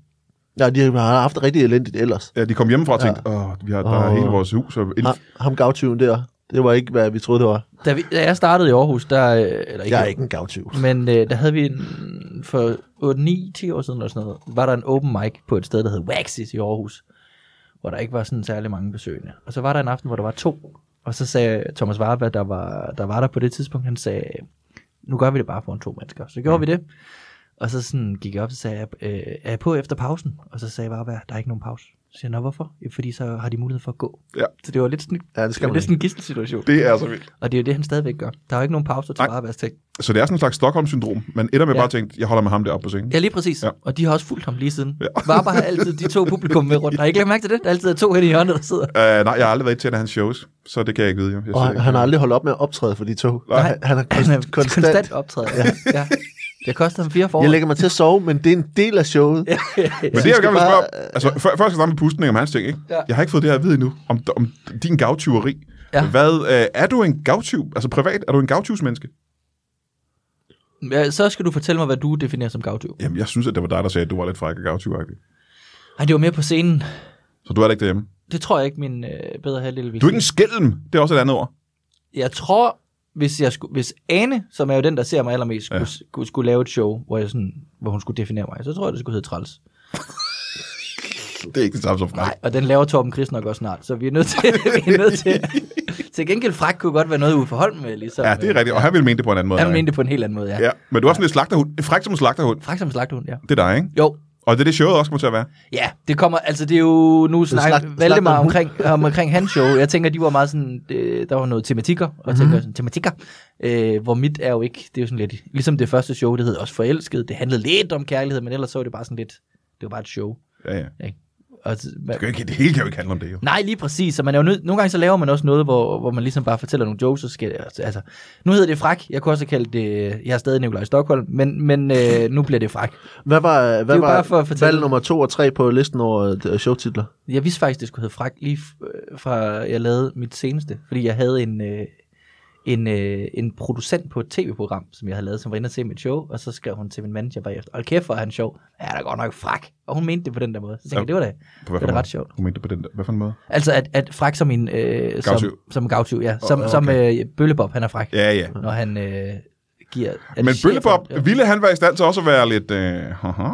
Speaker 2: ja, de har haft det rigtig elendigt ellers.
Speaker 1: Ja, de kom hjemmefra og tænkte, åh, vi har, der er
Speaker 2: Åh.
Speaker 1: hele vores hus og elf.
Speaker 2: Ham, ham gavtyven der, det var ikke, hvad vi troede, det var.
Speaker 3: Da, vi, da jeg startede i Aarhus, der, øh, eller ikke,
Speaker 2: Jeg er ikke en gavtyv.
Speaker 3: men øh, der havde vi en, for 8-9-10 år siden eller sådan noget, var der en open mic på et sted, der hed Waxis i Aarhus, hvor der ikke var sådan særlig mange besøgende. Og så var der en aften, hvor der var to, og så sagde Thomas Warberg, der var der, var der på det tidspunkt, han sagde, nu gør vi det bare foran to mennesker. Så gjorde mm. vi det, og så sådan gik jeg op, og sagde jeg, øh, er jeg på efter pausen? Og så sagde Warberg, der er ikke nogen pause. Så siger jeg, nå hvorfor? "Ja, Fordi så har de mulighed for at gå.
Speaker 1: Ja.
Speaker 3: Så det var lidt sådan,
Speaker 2: Ja, det
Speaker 3: det
Speaker 2: skal man
Speaker 3: var lidt
Speaker 2: ikke.
Speaker 3: sådan en gidselsituation.
Speaker 1: Det er så vildt.
Speaker 3: Og det er jo det, han stadigvæk gør. Der er jo ikke nogen pauser til
Speaker 1: Nej.
Speaker 3: Warbergs ting.
Speaker 1: Så det er sådan en slags Stockholm-syndrom. Man ender med
Speaker 3: Ja.
Speaker 1: bare at tænke, jeg holder med ham deroppe på sengen.
Speaker 3: Ja, lige præcis.
Speaker 1: Ja.
Speaker 3: Ja. Og de har også fulgt ham lige siden. *laughs*
Speaker 1: Ja.
Speaker 3: Ja. Var bare altid de to publikum med rundt. Har I ikke lagt mærke til det? Der altid er to hen i hjørnet, der
Speaker 1: *laughs*
Speaker 3: sidder.
Speaker 1: Uh, nej, jeg har aldrig været til en af hans shows, så det kan jeg ikke vide. Jo. Jeg
Speaker 2: Og
Speaker 1: siger
Speaker 2: han,
Speaker 1: ikke.
Speaker 2: han har aldrig holdt op med at optræde for de to.
Speaker 1: Nej.
Speaker 2: Han, han er,
Speaker 1: Altså,
Speaker 2: konst,
Speaker 3: Han er
Speaker 2: konstant.
Speaker 3: konstant, konstant optræder.
Speaker 1: *laughs*
Speaker 3: Ja. ja. Jeg kostede ham fire forår.
Speaker 2: Jeg lægger mig til at sove, men det er en del af showet. Ja.
Speaker 1: Men det, jeg
Speaker 2: skal
Speaker 1: gerne vil
Speaker 2: bare-
Speaker 1: spørge om, altså, før, før jeg skal snakke med pustning om hans ting, ikke? Ja.
Speaker 3: Ja.
Speaker 1: jeg har ikke fået det her at vide endnu, om, om din gavtyveri. Ja.
Speaker 3: Ja.
Speaker 1: Hvad, øh, er du en gavtyv, altså privat, er du en gavtyvsmenneske?
Speaker 3: Ja, så skal du fortælle mig, hvad du definerer som gavtyv.
Speaker 1: Jamen, jeg synes, at det var dig, der sagde, at du var lidt fræk og gavtyvagtig.
Speaker 3: Nej, det var mere på scenen.
Speaker 1: Så du er da ikke derhjemme.
Speaker 3: Det tror jeg ikke, min øh, bedre halvdel vil
Speaker 1: Du er ikke en skælm, det er også et andet ord.
Speaker 3: Jeg tror, hvis, jeg skulle, hvis Ane, som er jo den, der ser mig allermest, skulle, ja. skulle, skulle lave et show, hvor, jeg sådan, hvor hun skulle definere mig, så tror jeg, det skulle hedde Træls.
Speaker 1: Det er ikke det samme som fræk.
Speaker 3: Nej, og den laver Torben Chris nok også snart, så vi er nødt til... *laughs* vi er nødt til
Speaker 1: *laughs*
Speaker 3: til gengæld frak kunne godt være noget ude for Holm med, ligesom.
Speaker 1: Ja, det er rigtigt, og han ville mene det på en anden måde.
Speaker 3: Han
Speaker 1: end dig,
Speaker 3: mente det på en helt anden måde, ja.
Speaker 1: ikke?
Speaker 3: ja.
Speaker 1: Ja, men du er også sådan en slagterhund. Fræk som en slagterhund.
Speaker 3: Frak som en slagthund, ja.
Speaker 1: Det er dig, ikke?
Speaker 3: Jo,
Speaker 1: Og det er det, showet også kommer til at være.
Speaker 3: ja, det kommer, altså det er jo, nu snakker
Speaker 2: slagt-
Speaker 3: Valdemar
Speaker 2: slagter
Speaker 3: omkring, om, omkring hans show, jeg tænker, de var meget sådan, øh, der var noget tematikker, og jeg tænker sådan, tematikker, øh, hvor mit er jo ikke, det er jo sådan lidt, ligesom det første show, det hed også Forelsket, det handlede lidt om kærlighed, men ellers så var det bare sådan lidt, det var bare et show.
Speaker 1: Ja, ja.
Speaker 3: Og, så-
Speaker 1: Det, kan jo ikke, det hele kan jo ikke handle om det, jo.
Speaker 3: Nej, lige præcis. Så man er jo nød, nogle gange så laver man også noget, hvor, hvor man ligesom bare fortæller nogle jokes. Og skal, altså, nu hedder det frak. Jeg kunne også kalde det... Jeg er stadig Nikolaj Stockholm, men, men øh, nu bliver det frak.
Speaker 2: Hvad var, hvad
Speaker 3: jo
Speaker 2: var
Speaker 3: bare for at fortælle-
Speaker 2: valg nummer to og tre på listen over øh, showtitler?
Speaker 3: Jeg vidste faktisk, det skulle hedde frak, lige øh, fra jeg lavede mit seneste. Fordi jeg havde en, øh, en, øh, en producent på et tv-program, som jeg havde lavet, som var inde og se mit show. Og så skrev hun til min manager bagefter, hold kæft, hvor er han sjov. Ja, der er godt nok frak. Og hun mente det på den der måde. Så tænkte
Speaker 1: Ja.
Speaker 3: ja. jeg, det var det.
Speaker 1: På hvad
Speaker 3: Det er da
Speaker 1: måde?
Speaker 3: ret sjovt.
Speaker 1: Hun mente det på den der. Hvad for en måde?
Speaker 3: Altså, at, at frak som en... Øh,
Speaker 1: Gavtyv.
Speaker 3: som, som gavtyv, ja. Som,
Speaker 1: Åh,
Speaker 3: oh, okay. som øh, Bøllebob, han er frak.
Speaker 1: Ja, ja.
Speaker 3: når han øh, giver... er det
Speaker 1: Men
Speaker 3: chefen?
Speaker 1: Bøllebop,
Speaker 3: Ja.
Speaker 1: ville han være i stand til også at være lidt øh, haha,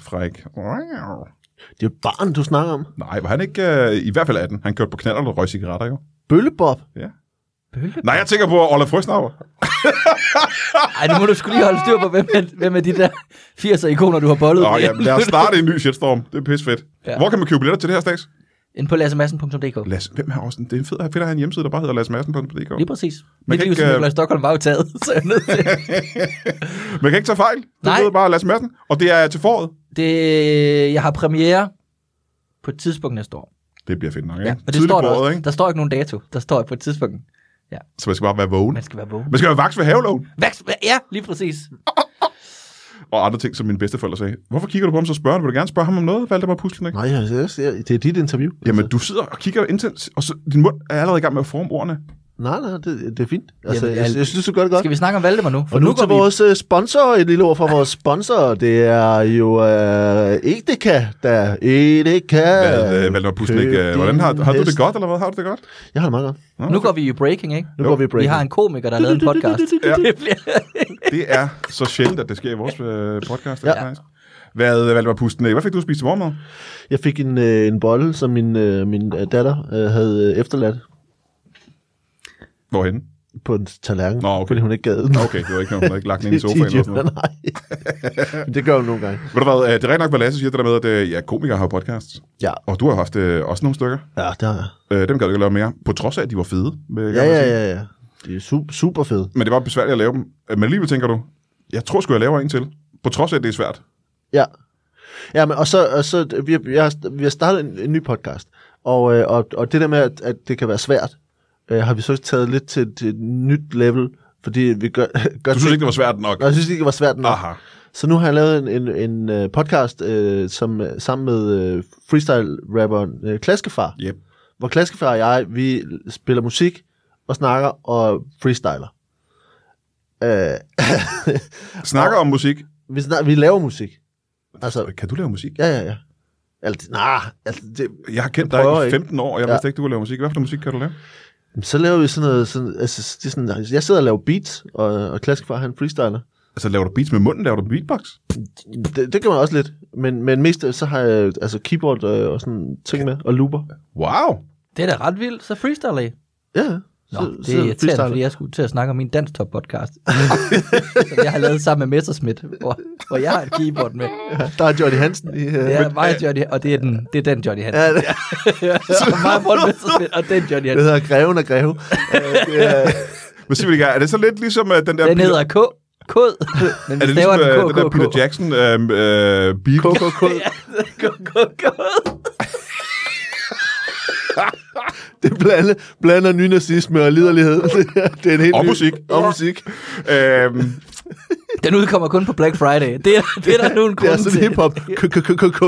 Speaker 1: fræk? Wow.
Speaker 2: Det er jo et barn, du snakker om.
Speaker 3: *laughs*
Speaker 1: Nej, var han ikke øh, i hvert fald 18? Han kørte på knaller og røg cigaretter jo.
Speaker 2: Bøllebob?
Speaker 1: Ja.
Speaker 3: Bølle?
Speaker 1: Nej, jeg tænker på Olaf Frøsnauer.
Speaker 3: Ej, nu må du skulle lige holde styr på, hvem er, hvem er de
Speaker 1: *laughs*
Speaker 3: der 80'er ikoner, du har bollet
Speaker 1: Nå,
Speaker 3: med.
Speaker 1: ja, lad os starte en ny shitstorm. Det er pissefedt. Ja.
Speaker 3: Ja.
Speaker 1: Hvor kan man købe billetter til det her stags?
Speaker 3: *laughs* Ind på lassemadsen.dk.
Speaker 1: Lasse, hvem er Austen? Det er en fed, fedt at have en hjemmeside, der bare hedder lassemadsen.dk.
Speaker 3: Lige præcis.
Speaker 1: Man
Speaker 3: Mit
Speaker 1: kan
Speaker 3: liv
Speaker 1: ikke,
Speaker 3: som
Speaker 1: øh,
Speaker 3: Nikolaj Stockholm var jo taget, *laughs* så jeg er nødt til.
Speaker 1: Man kan ikke tage fejl. Det
Speaker 3: Nej.
Speaker 1: hedder bare Lasse Madsen. Og det er til foråret.
Speaker 3: Det, jeg har premiere på et tidspunkt næste år.
Speaker 1: Det bliver fedt nok, ikke?
Speaker 3: Ja, og det
Speaker 1: Tidligt
Speaker 3: står
Speaker 1: på
Speaker 3: der,
Speaker 1: året,
Speaker 3: også.
Speaker 1: ikke?
Speaker 3: der står ikke nogen dato. Der står på et tidspunkt.
Speaker 1: Så man skal bare være vågen.
Speaker 3: Man skal være vågen.
Speaker 1: Man skal være vaks ved havelån.
Speaker 3: Vækst, ja, lige præcis.
Speaker 1: Og andre ting, som mine bedsteforældre sagde. Hvorfor kigger du på ham så spørgende? Vil du gerne spørge ham om noget? Valdemar Puslen, ikke?
Speaker 2: Nej, jeg, jeg, jeg, det er dit interview.
Speaker 1: Jamen,
Speaker 2: Altså,
Speaker 1: du sidder og kigger intens, og så, din mund er allerede i gang med at forme ordene.
Speaker 2: nej, nej, det, det er fint. Altså,
Speaker 3: Jamen,
Speaker 2: jeg, jeg,
Speaker 3: al-
Speaker 2: jeg, synes, du gør det godt.
Speaker 3: Skal vi snakke om Valdemar nu?
Speaker 2: Og nu til vores øh, sponsor, et lille ord fra vores sponsor, det er jo øh, Edeka, der Edeka.
Speaker 1: Hvad, øh, Valdemar Puslen,
Speaker 2: køb
Speaker 1: ikke? Øh, Hvordan har,
Speaker 2: din
Speaker 1: har du det
Speaker 2: hest.
Speaker 1: godt, eller hvad? Har du det godt?
Speaker 2: Jeg har det meget godt.
Speaker 3: nu går vi i breaking, ikke?
Speaker 2: Nu
Speaker 1: Jo.
Speaker 2: går vi i
Speaker 3: Vi
Speaker 2: break.
Speaker 3: har en komiker, der har lavet en podcast.
Speaker 2: *laughs*
Speaker 1: Ja.
Speaker 3: Det bliver-
Speaker 1: Det er så sjældent, at det sker i vores øh, podcast.
Speaker 2: Ja.
Speaker 1: Ja. Faktisk. Hvad, Valdemar Puslen, ikke? hvad fik du at spise til morgenmad?
Speaker 2: Jeg fik en, øh, en bolle, som min, øh, min øh, datter øh, havde øh, efterladt
Speaker 1: Hvorhenne?
Speaker 2: på en tallerken,
Speaker 1: Nå, okay.
Speaker 2: fordi hun ikke gad den.
Speaker 1: Okay, det var ikke noget, hun havde
Speaker 2: *laughs*
Speaker 1: ikke lagt den ind i *laughs* sofaen eller sådan noget.
Speaker 2: Nej, Men det gør hun nogle gange.
Speaker 1: Ved du hvad, øh, det er rent nok, hvad Lasse siger, det der med, at øh, ja, komikere har podcasts.
Speaker 2: Ja,
Speaker 1: Og du har haft øh, også nogle stykker.
Speaker 2: ja det har jeg.
Speaker 1: Øh, dem gad du ikke lave mere, på trods af, at de var fede. Med,
Speaker 2: Ja, ja, ja, ja. Det er super, super fedt.
Speaker 1: Men det var besværligt at lave dem. Øh, Men alligevel tænker du, jeg tror sgu, jeg laver en til. På trods af, at det er svært.
Speaker 2: Ja. Ja, men, og så, og så vi, har, vi, har, vi har startet en, en ny podcast, og, øh, og, og det der med, at, at det kan være svært, øh, har vi så taget lidt til, til et nyt level, fordi vi gør, *laughs* gør
Speaker 1: Du synes ikke, det var svært nok?
Speaker 2: Nå, jeg synes ikke, det var svært nok.
Speaker 1: Aha.
Speaker 2: Så nu har jeg lavet en, en, en øh, podcast øh, som, øh, sammen med øh, freestyle-rapperen øh, Klaskefar,
Speaker 1: Yep.
Speaker 2: hvor Klaskefar og jeg, vi spiller musik og snakker og freestyler. Øh, *laughs*
Speaker 1: Snakker om musik.
Speaker 2: vi, snak, vi laver musik. Altså,
Speaker 1: Øh, Kan du lave musik?
Speaker 2: ja, ja, ja. Altså, nej, altså, det,
Speaker 1: Jeg har kendt
Speaker 2: Jeg prøver
Speaker 1: dig i
Speaker 2: ikke.
Speaker 1: 15 år, og jeg ja.
Speaker 2: Ja.
Speaker 1: vidste ikke, du kunne lave musik. Hvad for noget musik kan du lave?
Speaker 2: så laver vi sådan noget, sådan, altså, det er sådan, altså, jeg sidder og laver beats, og, og Klaskefar, han freestyler.
Speaker 1: Altså, laver du beats med munden? Laver du beatbox?
Speaker 2: Det, det kan man også lidt, men, men mest øh, så har jeg altså keyboard øh, og sådan ting med, og looper.
Speaker 1: Wow!
Speaker 3: Det er da ret vildt, så freestyle af.
Speaker 2: Ja, ja.
Speaker 3: Nå,
Speaker 2: Så-
Speaker 3: det
Speaker 2: sidder
Speaker 3: er
Speaker 2: og
Speaker 3: irriterende,
Speaker 2: freestyler.
Speaker 3: fordi jeg skulle til at snakke om min danstop-podcast, *laughs* som jeg har lavet sammen med Messerschmidt, hvor, hvor jeg har et keyboard med.
Speaker 2: Ja, der er Johnny Hansen i... Øh,
Speaker 3: Ja, mig og Johnny, og det er den, det er den Johnny Hansen.
Speaker 2: ja, det,
Speaker 1: *laughs*
Speaker 3: Ja. mig og Morten Messerschmidt, og den Johnny
Speaker 2: det
Speaker 3: Hansen.
Speaker 2: hedder Greven og Greve. Øh, det er,
Speaker 1: Men sig mig lige, er det så lidt ligesom øh, den der...
Speaker 3: Den
Speaker 1: Peter-
Speaker 3: hedder K. K.
Speaker 1: *laughs* er
Speaker 3: Men vi
Speaker 1: det
Speaker 3: staver
Speaker 1: ligesom øh, den der
Speaker 3: den
Speaker 1: Peter
Speaker 3: KKK.
Speaker 1: Jackson øh, øh, beat?
Speaker 2: KKK.
Speaker 3: KKK.
Speaker 2: Det blander, blander nynazisme og liderlighed. det er en helt
Speaker 1: *laughs* Og
Speaker 2: ny-
Speaker 1: musik.
Speaker 2: Og musik.
Speaker 1: *laughs* Øhm,
Speaker 3: Den udkommer kun på Black Friday. Det er, det er der
Speaker 1: *laughs*
Speaker 3: nu en
Speaker 2: Det er
Speaker 3: grund
Speaker 2: sådan
Speaker 3: til.
Speaker 2: hiphop. KKK.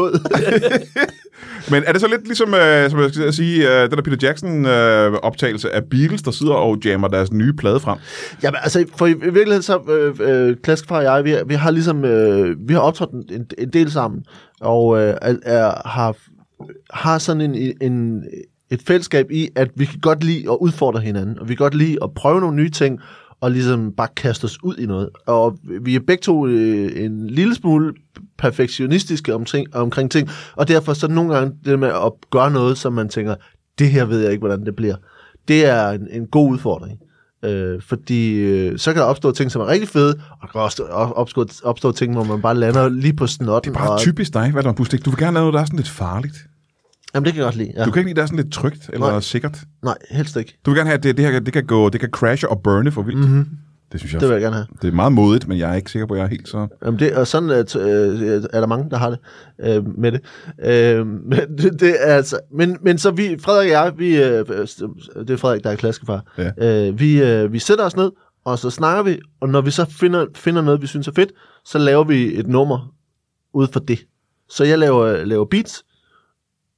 Speaker 1: men er det så lidt ligesom, øh, som jeg skal sige, øh, den der Peter Jackson-optagelse af Beatles, der sidder og jammer deres nye plade frem?
Speaker 2: Jamen altså, for i, i virkeligheden så, øh, øh, Klaskefar og jeg, vi, vi har ligesom, øh, vi har optrådt en- en, en del sammen, og øh, er, er, har, har sådan en, en, et fællesskab i, at vi kan godt lide at udfordre hinanden, og vi kan godt lide at prøve nogle nye ting, og ligesom bare kaste os ud i noget. Og vi er begge to øh, en lille smule perfektionistiske omkring, omkring ting, og derfor så nogle gange det med at gøre noget, som man tænker, det her ved jeg ikke, hvordan det bliver. Det er en, en god udfordring. Øh, fordi øh, så kan der opstå ting, som er rigtig fede, og der kan også opstå, opstå ting, hvor man bare lander lige på snotten.
Speaker 1: Det er bare
Speaker 2: og,
Speaker 1: typisk dig, Valdemar Pustik. Du vil gerne lave noget, der er sådan lidt farligt.
Speaker 2: Jamen, det kan jeg godt lide. Ja.
Speaker 1: Du kan ikke lide, der er sådan lidt trygt eller
Speaker 2: Nej.
Speaker 1: sikkert.
Speaker 2: Nej, helst ikke.
Speaker 1: Du vil gerne have, at det, det her det kan, gå, det kan crashe og burne for vildt. Mm-hmm. Det synes jeg
Speaker 2: Mhm. Det vil jeg gerne have.
Speaker 1: Det er meget modigt, men jeg er ikke sikker på, at jeg er helt så...
Speaker 2: Jamen det, og sådan at, øh, er der mange, der har det øh, med det. Øh, men, *laughs* det, det er altså, men, men så vi, Frederik og jeg, vi, øh, det er Frederik, der er klaskefar, ja. øh, vi, øh, vi sætter os ned, og så snakker vi, og når vi så finder, finder noget, vi synes er fedt, så laver vi et nummer ud for det. Så jeg laver, laver beats,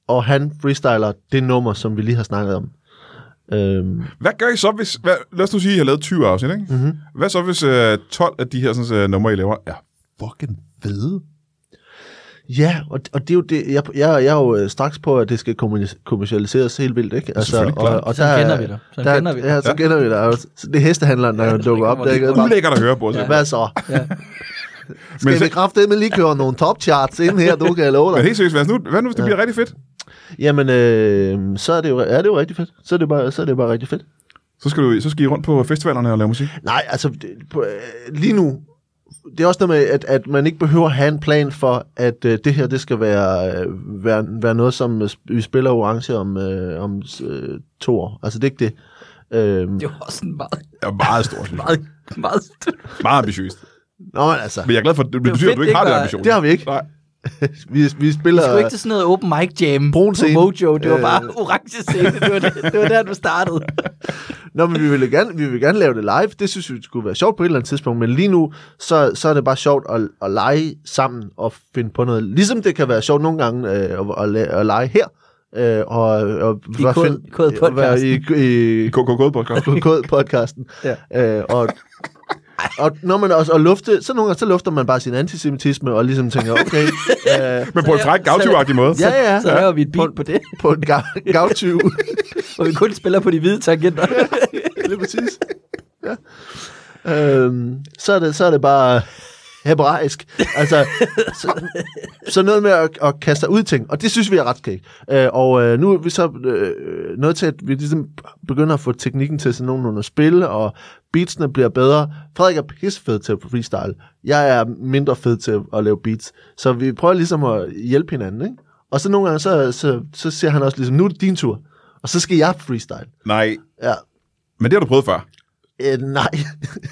Speaker 2: og han freestyler det nummer, som vi lige har snakket om. Øhm,
Speaker 1: Hvad gør I så, hvis... Hvad, lad os nu sige, at I har lavet 20 afsnit, ikke?
Speaker 2: Mhm.
Speaker 1: Mm-hmm. Hvad så, hvis øh, 12 af de her sådan, øh, numre, I laver, er fucking fede?
Speaker 2: Ja, og, og det er jo det, jeg, jeg, jeg er jo øh, straks på, at det skal kommunis- kommercialiseres helt vildt, ikke? Altså,
Speaker 1: selvfølgelig
Speaker 2: og,
Speaker 1: klart.
Speaker 2: og
Speaker 3: Sådan
Speaker 2: der,
Speaker 3: kender vi dig. Sådan
Speaker 2: der,
Speaker 3: kender vi dig.
Speaker 2: Ja, så kender vi dig. Og så- Det er hestehandleren, der ja, dukker op.
Speaker 3: kommer
Speaker 2: Der, ikke?
Speaker 3: de-
Speaker 2: Bare,
Speaker 1: Ulækkert at høre på. altså. Ja.
Speaker 2: Hvad så?
Speaker 3: Ja.
Speaker 1: Men
Speaker 2: *laughs* Skal
Speaker 1: så-
Speaker 2: vi kraftedeme lige køre nogle top charts ind her, du kan jeg
Speaker 1: *laughs*
Speaker 2: love
Speaker 1: Men
Speaker 2: dig.
Speaker 1: helt seriøst, hvad nu, hvad nu hvis det bliver rigtig fedt?
Speaker 2: Jamen, øh, så er det, jo, er det jo rigtig fedt. Så er det bare, så er det bare rigtig fedt.
Speaker 1: Så skal, du, så skal I rundt på festivalerne og lave musik.
Speaker 2: Nej, altså det, på, øh, lige nu, det er også noget med, at, at man ikke behøver at have en plan for, at øh, det her det skal være, øh, være, være noget, som øh, vi spiller orange om, øh, om øh, to år. Altså det er ikke det. Øh,
Speaker 3: Det var også en meget,
Speaker 1: Det er meget stort. synes jeg.
Speaker 3: meget, meget stort.
Speaker 1: meget ambitiøst.
Speaker 2: nå, men altså,
Speaker 1: Men jeg er glad for, at det betyder,
Speaker 3: fedt,
Speaker 1: at du ikke
Speaker 3: det
Speaker 1: har den
Speaker 3: ikke var-
Speaker 1: ambition.
Speaker 2: det har vi ikke.
Speaker 1: Nej.
Speaker 2: *laughs* vi, vi
Speaker 3: Vi
Speaker 1: Øh,
Speaker 3: skulle
Speaker 2: spiller...
Speaker 3: ikke til sådan noget open mic
Speaker 2: Brun
Speaker 3: jam Brun
Speaker 2: scene.
Speaker 3: på Mojo. Det var
Speaker 2: Øh.
Speaker 3: bare orange scene. Det var, det, det var der, du
Speaker 1: *laughs*
Speaker 3: startede.
Speaker 2: Nå, men vi vil, gerne, vi vil gerne lave det live. Det synes vi skulle være sjovt på et eller andet tidspunkt. Men lige nu, så, så er det bare sjovt at, at lege sammen og finde på noget. Ligesom det kan være sjovt nogle gange øh, at, at, la- at lege her. Øh, og, og
Speaker 3: I
Speaker 2: og
Speaker 3: kod-
Speaker 2: finde-
Speaker 3: kodpodcasten.
Speaker 2: og være i, i, i
Speaker 1: KKK-podcast.
Speaker 2: podcasten. ja. øh, og, og når man også og lufte, så nogle gange, så lufter man bare sin antisemitisme og ligesom tænker,
Speaker 3: *laughs*
Speaker 2: okay, øh,
Speaker 1: Men på en fræk, gautivagtig måde.
Speaker 2: ja, ja,
Speaker 3: Så laver vi et beat på det,
Speaker 2: på en gav- gavtyv.
Speaker 3: hvor vi kun spiller på de hvide tangenter.
Speaker 2: Lige præcis. Ja. Øhm, så, er det, så er det bare hebraisk. Altså, så, så noget med at, at kaste sig ud i ting, og det synes vi er ret skægt. Øh, og øh, nu er vi så øh, nået til, at vi ligesom begynder at få teknikken til sådan nogenlunde at spille, og beatsene bliver bedre. Frederik er pissefed til at freestyle. Jeg er mindre fed til at lave beats. Så vi prøver ligesom at hjælpe hinanden, ikke? Og så nogle gange, så, så, så siger han også ligesom, nu er det din tur, og så skal jeg freestyle.
Speaker 1: Nej,
Speaker 2: Ja.
Speaker 1: men det har du prøvet før.
Speaker 2: Øh, nej.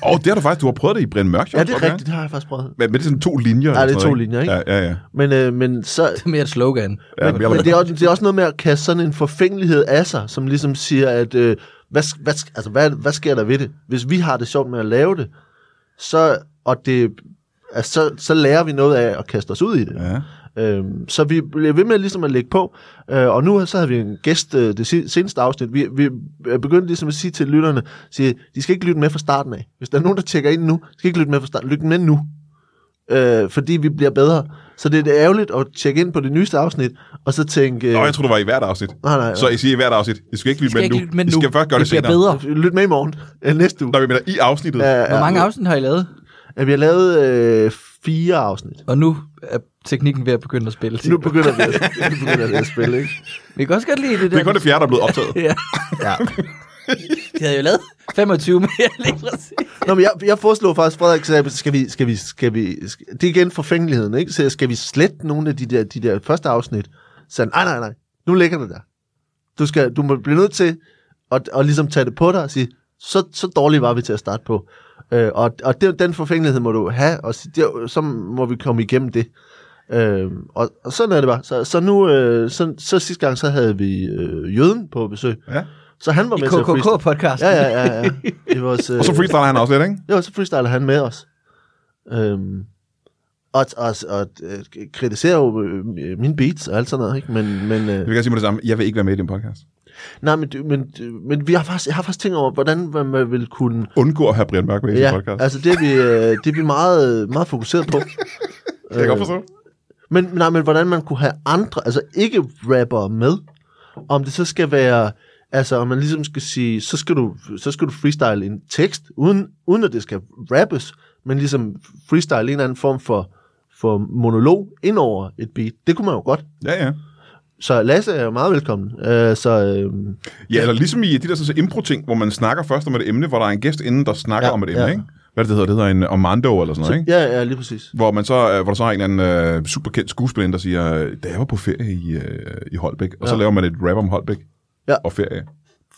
Speaker 1: Og det har du faktisk, du har prøvet det i Brian Mørk. Show,
Speaker 2: Ja, det
Speaker 1: tror
Speaker 2: er
Speaker 1: jeg,
Speaker 2: rigtigt, det har jeg faktisk prøvet.
Speaker 1: Men men det er sådan to linjer.
Speaker 2: Ja, det er
Speaker 1: eller sådan
Speaker 2: to
Speaker 1: noget,
Speaker 2: linjer, ikke?
Speaker 1: Ja, ja, ja.
Speaker 2: Men, øh, men så...
Speaker 3: *laughs* Det er mere et slogan.
Speaker 1: ja men jeg var-
Speaker 2: Men det er, også, det er også noget med at kaste sådan en forfængelighed af sig, som ligesom siger, at øh, hvad, sk- hvad, sk- altså, hvad, hvad sker der ved det? Hvis vi har det sjovt med at lave det, så, og det, altså, så, så lærer vi noget af at kaste os ud i det.
Speaker 1: ja.
Speaker 2: Øhm, så vi blev ved med ligesom at lægge på, øh, og nu så havde vi en gæst øh, det si- seneste afsnit. Vi, vi begyndte ligesom at sige til lytterne, sige, de skal ikke lytte med fra starten af. Hvis der er nogen, der tjekker ind nu, skal ikke lytte med fra starten. Lyt med nu, øh, fordi vi bliver bedre. Så det er lidt ærgerligt at tjekke ind på det nyeste afsnit, og så tænke, øh,
Speaker 1: Nå, jeg tror, du var i hvert afsnit.
Speaker 2: nej, nej,
Speaker 1: Så I siger i hvert afsnit, I skal ikke lytte
Speaker 3: skal
Speaker 1: med
Speaker 3: ikke
Speaker 1: nu.
Speaker 3: lytte med
Speaker 1: I
Speaker 3: nu.
Speaker 1: skal først gøre det,
Speaker 3: bliver
Speaker 1: senere.
Speaker 3: bedre.
Speaker 2: lyt med i morgen, øh, næste uge.
Speaker 1: Når vi mener i afsnittet.
Speaker 3: Hvor mange afsnit har I lavet?
Speaker 2: afsnit? Vi har lavet øh, fire afsnit.
Speaker 3: Og nu er teknikken ved at begynde at spille.
Speaker 2: Nu begynder vi at, nu begynder vi at spille, ikke?
Speaker 3: Vi kan også godt lide det der.
Speaker 1: Det er kun det fjerde, der er blevet optaget.
Speaker 3: Ja.
Speaker 2: Ja.
Speaker 3: De havde jo lavet 25 mere lige præcis.
Speaker 2: Nå, men jeg, jeg foreslog faktisk, Frederik sagde, skal vi, skal vi, skal vi, skal, det er igen forfængeligheden, ikke? Så skal vi slette nogle af de der, de der første afsnit? Så han, nej, nej, nej, nu ligger det der. Du, skal, du må blive nødt til at, at ligesom tage det på dig og sige, så, så dårlige var vi til at starte på. Øh, og og det, den forfængelighed må du have, og sige, det, så må vi komme igennem det. Øh, og, og sådan er det bare. Så, så nu, øh, så, så sidste gang, så havde vi øh, Jøden på besøg.
Speaker 1: Ja.
Speaker 2: Så han var
Speaker 3: I
Speaker 2: med til at freestyle.
Speaker 3: KKK-podcasten.
Speaker 2: Ja, ja, ja. ja. Det var også,
Speaker 1: Og så
Speaker 2: øh,
Speaker 1: freestyler han også lidt, ikke?
Speaker 2: jo, så freestyler han med os. Øhm, og, og, og øh, kritiserer jo øh, mine beats og alt sådan noget, ikke? Men, men,
Speaker 1: Jeg
Speaker 2: øh,
Speaker 1: vil gerne sige mig det samme. Jeg vil ikke være med i din podcast.
Speaker 2: nej, men, du- men, du- men vi har faktisk, jeg har faktisk tænkt over, hvordan man- man vil kunne...
Speaker 1: Undgå at have Brian Mørk med i din
Speaker 2: Ja,
Speaker 1: podcast.
Speaker 2: altså det er vi, øh, det er vi meget, meget fokuseret på.
Speaker 1: Kan jeg godt forstå?
Speaker 2: Men, nej, men hvordan man kunne have andre, altså ikke rapper med, om det så skal være, altså om man ligesom skal sige, så skal du, så skal du freestyle en tekst, uden, uden at det skal rappes, men ligesom freestyle en eller anden form for, for monolog ind over et beat. Det kunne man jo godt.
Speaker 1: Ja, ja.
Speaker 2: Så Lasse er jo meget velkommen. Øh, så øh,
Speaker 1: Ja, eller ligesom i de der sådan, så impro-ting, hvor man snakker først om et emne, hvor der er en gæst inden, der snakker
Speaker 2: Ja,
Speaker 1: om et emne,
Speaker 2: ja.
Speaker 1: ikke? Hvad er det, det hedder? Det hedder en øh, Armando eller sådan noget, ikke?
Speaker 2: ja, ja, lige præcis.
Speaker 1: Hvor, man så, øh, hvor der så er en eller anden øh, superkendt skuespiller, der siger, øh, da jeg var på ferie i, øh, i Holbæk, og så
Speaker 2: Ja.
Speaker 1: laver man et rap om Holbæk
Speaker 2: Ja.
Speaker 1: og ferie.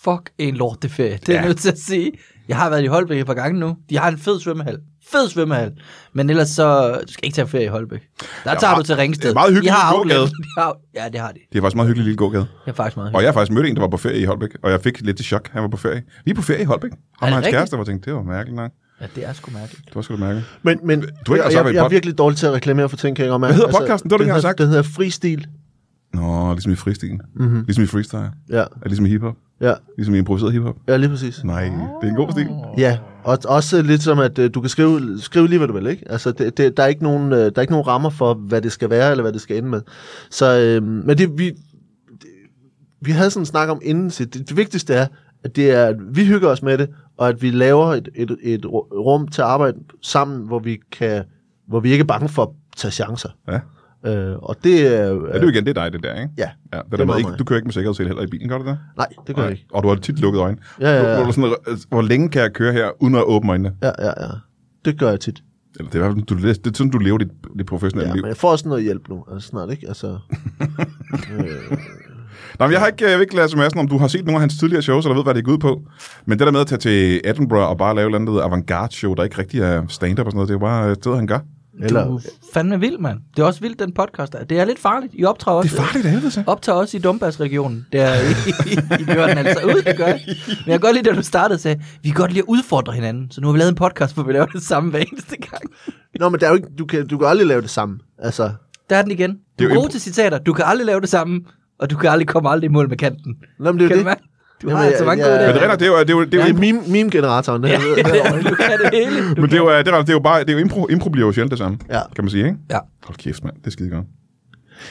Speaker 3: Fuck en lorteferie. Det er
Speaker 1: Ja.
Speaker 3: ja. nødt til at sige. Jeg har været i Holbæk et par gange nu. De har en fed svømmehal. Fed svømmehal. Men ellers så... Du skal ikke tage ferie i Holbæk. Der tager
Speaker 1: meget-
Speaker 3: du til Ringsted.
Speaker 1: det er meget hyggelig
Speaker 3: De har
Speaker 1: gågade.
Speaker 3: outlet. De har, ja, det har de.
Speaker 1: Det er faktisk en meget hyggelig lille gågade.
Speaker 3: Det er faktisk meget
Speaker 1: Og
Speaker 3: hyggeligt.
Speaker 1: jeg har faktisk mødt en, der var på ferie i Holbæk, og jeg fik lidt til chok, han var på ferie. Vi er på ferie i Holbæk. Han og hans
Speaker 3: rigtigt?
Speaker 1: kæreste, og jeg tænkte, det var mærkeligt nok.
Speaker 3: Ja, det er sgu mærkeligt.
Speaker 1: Det var sgu da mærkeligt.
Speaker 2: Men, men du
Speaker 1: har ikke
Speaker 2: jeg,
Speaker 1: sagt, hvad
Speaker 2: jeg,
Speaker 1: en
Speaker 2: jeg er
Speaker 1: pod-
Speaker 2: virkelig dårlig til at reklamere for ting, kan jeg godt mærke.
Speaker 1: hedder podcasten? Det var det,
Speaker 2: den
Speaker 1: jeg har
Speaker 2: hedder-
Speaker 1: sagt.
Speaker 2: Den hedder Fristil.
Speaker 1: Nå, ligesom i fristil. Mm-hmm. Ligesom i freestyle.
Speaker 2: Ja,
Speaker 1: Ja, ligesom i hiphop.
Speaker 2: ja,
Speaker 1: Ligesom i improviseret hiphop.
Speaker 2: ja, lige præcis.
Speaker 1: Nej, det er en god stil.
Speaker 2: Ja, og også lidt som, at øh, du kan skrive, skrive lige, hvad du vil, ikke? Altså, det, det, der, er ikke nogen, øh, der er ikke nogen rammer for, hvad det skal være, eller hvad det skal ende med. Så, øh, men det, vi, det, vi havde sådan en snak om inden, så det, det vigtigste er, at det er, at vi hygger os med det, og at vi laver et, et, et ru- rum til at arbejde sammen, hvor vi, kan, hvor vi ikke er bange for at tage chancer.
Speaker 1: Ja.
Speaker 2: Øh, og det er... Øh,
Speaker 1: Ja, det er jo igen, det er dig, det der, ikke?
Speaker 2: Ja.
Speaker 1: ja det
Speaker 2: Det
Speaker 1: der
Speaker 2: er
Speaker 1: med,
Speaker 2: meget
Speaker 1: ikke,
Speaker 2: mig.
Speaker 1: du kører ikke med sikkerhedssele heller i bilen, gør du det?
Speaker 2: Nej, det gør jeg ikke.
Speaker 1: Og du har tit lukket øjnene.
Speaker 2: Ja, ja, ja.
Speaker 1: Hvor, du sådan, øh, hvor længe kan jeg køre her, uden at åbne øjnene?
Speaker 2: Ja, ja, ja. Det gør jeg tit.
Speaker 1: Eller det er, i hvert fald, du, det er sådan, du lever dit, dit professionelle
Speaker 2: Ja,
Speaker 1: liv.
Speaker 2: men jeg får også noget hjælp nu, altså snart, ikke? Altså,
Speaker 1: Nej, men jeg har ikke, jeg vil ikke lade sms'en, om du har set nogle af hans tidligere shows, eller ved, hvad det er ud på. Men det der med at tage til Edinburgh og bare lave et eller andet avantgarde-show, der ikke rigtig er stand-up og sådan noget, det er jo bare øh, det, han gør.
Speaker 2: eller,
Speaker 3: Du er fandme vild, mand. Det er også vildt, den podcast der. Det er lidt farligt. I optræder også.
Speaker 1: Det er farligt af helvede, så.
Speaker 3: optager også i Dumbass-regionen. Der i, i, i gør den altså ud, det gør jeg. Men jeg kan godt lide, da du startede, sagde, vi kan godt lide at udfordre hinanden. Så nu har vi lavet en podcast, hvor vi laver det samme hver eneste gang.
Speaker 2: Nå, men der er jo ikke, du, kan, du kan aldrig lave det samme. Altså,
Speaker 3: Der er den igen. Du
Speaker 1: Det er
Speaker 3: er
Speaker 1: jo
Speaker 3: god til citater. Du kan aldrig lave det samme, og du kan aldrig komme aldrig i mål med kanten.
Speaker 2: nå, men det er
Speaker 3: Kan
Speaker 2: jo
Speaker 3: du
Speaker 2: det.
Speaker 3: mærke? Du har
Speaker 2: Jamen,
Speaker 3: altså
Speaker 2: jeg-
Speaker 3: mange
Speaker 2: jeg-
Speaker 3: gode
Speaker 1: Men det
Speaker 3: idéer.
Speaker 1: regner, det er jo, det er jo, det er jo,
Speaker 2: Det er
Speaker 1: impro,
Speaker 2: meme, meme-generatoren. Den,
Speaker 3: *laughs* Ja,
Speaker 2: her-
Speaker 3: det- du kan det hele. Du
Speaker 1: men det er jo, øh, det er, det er jo bare, det er jo impro, impro bliver jo sjældent det samme,
Speaker 2: Ja.
Speaker 1: kan man sige, ikke?
Speaker 3: Ja.
Speaker 1: Hold kæft, mand, det er skide godt.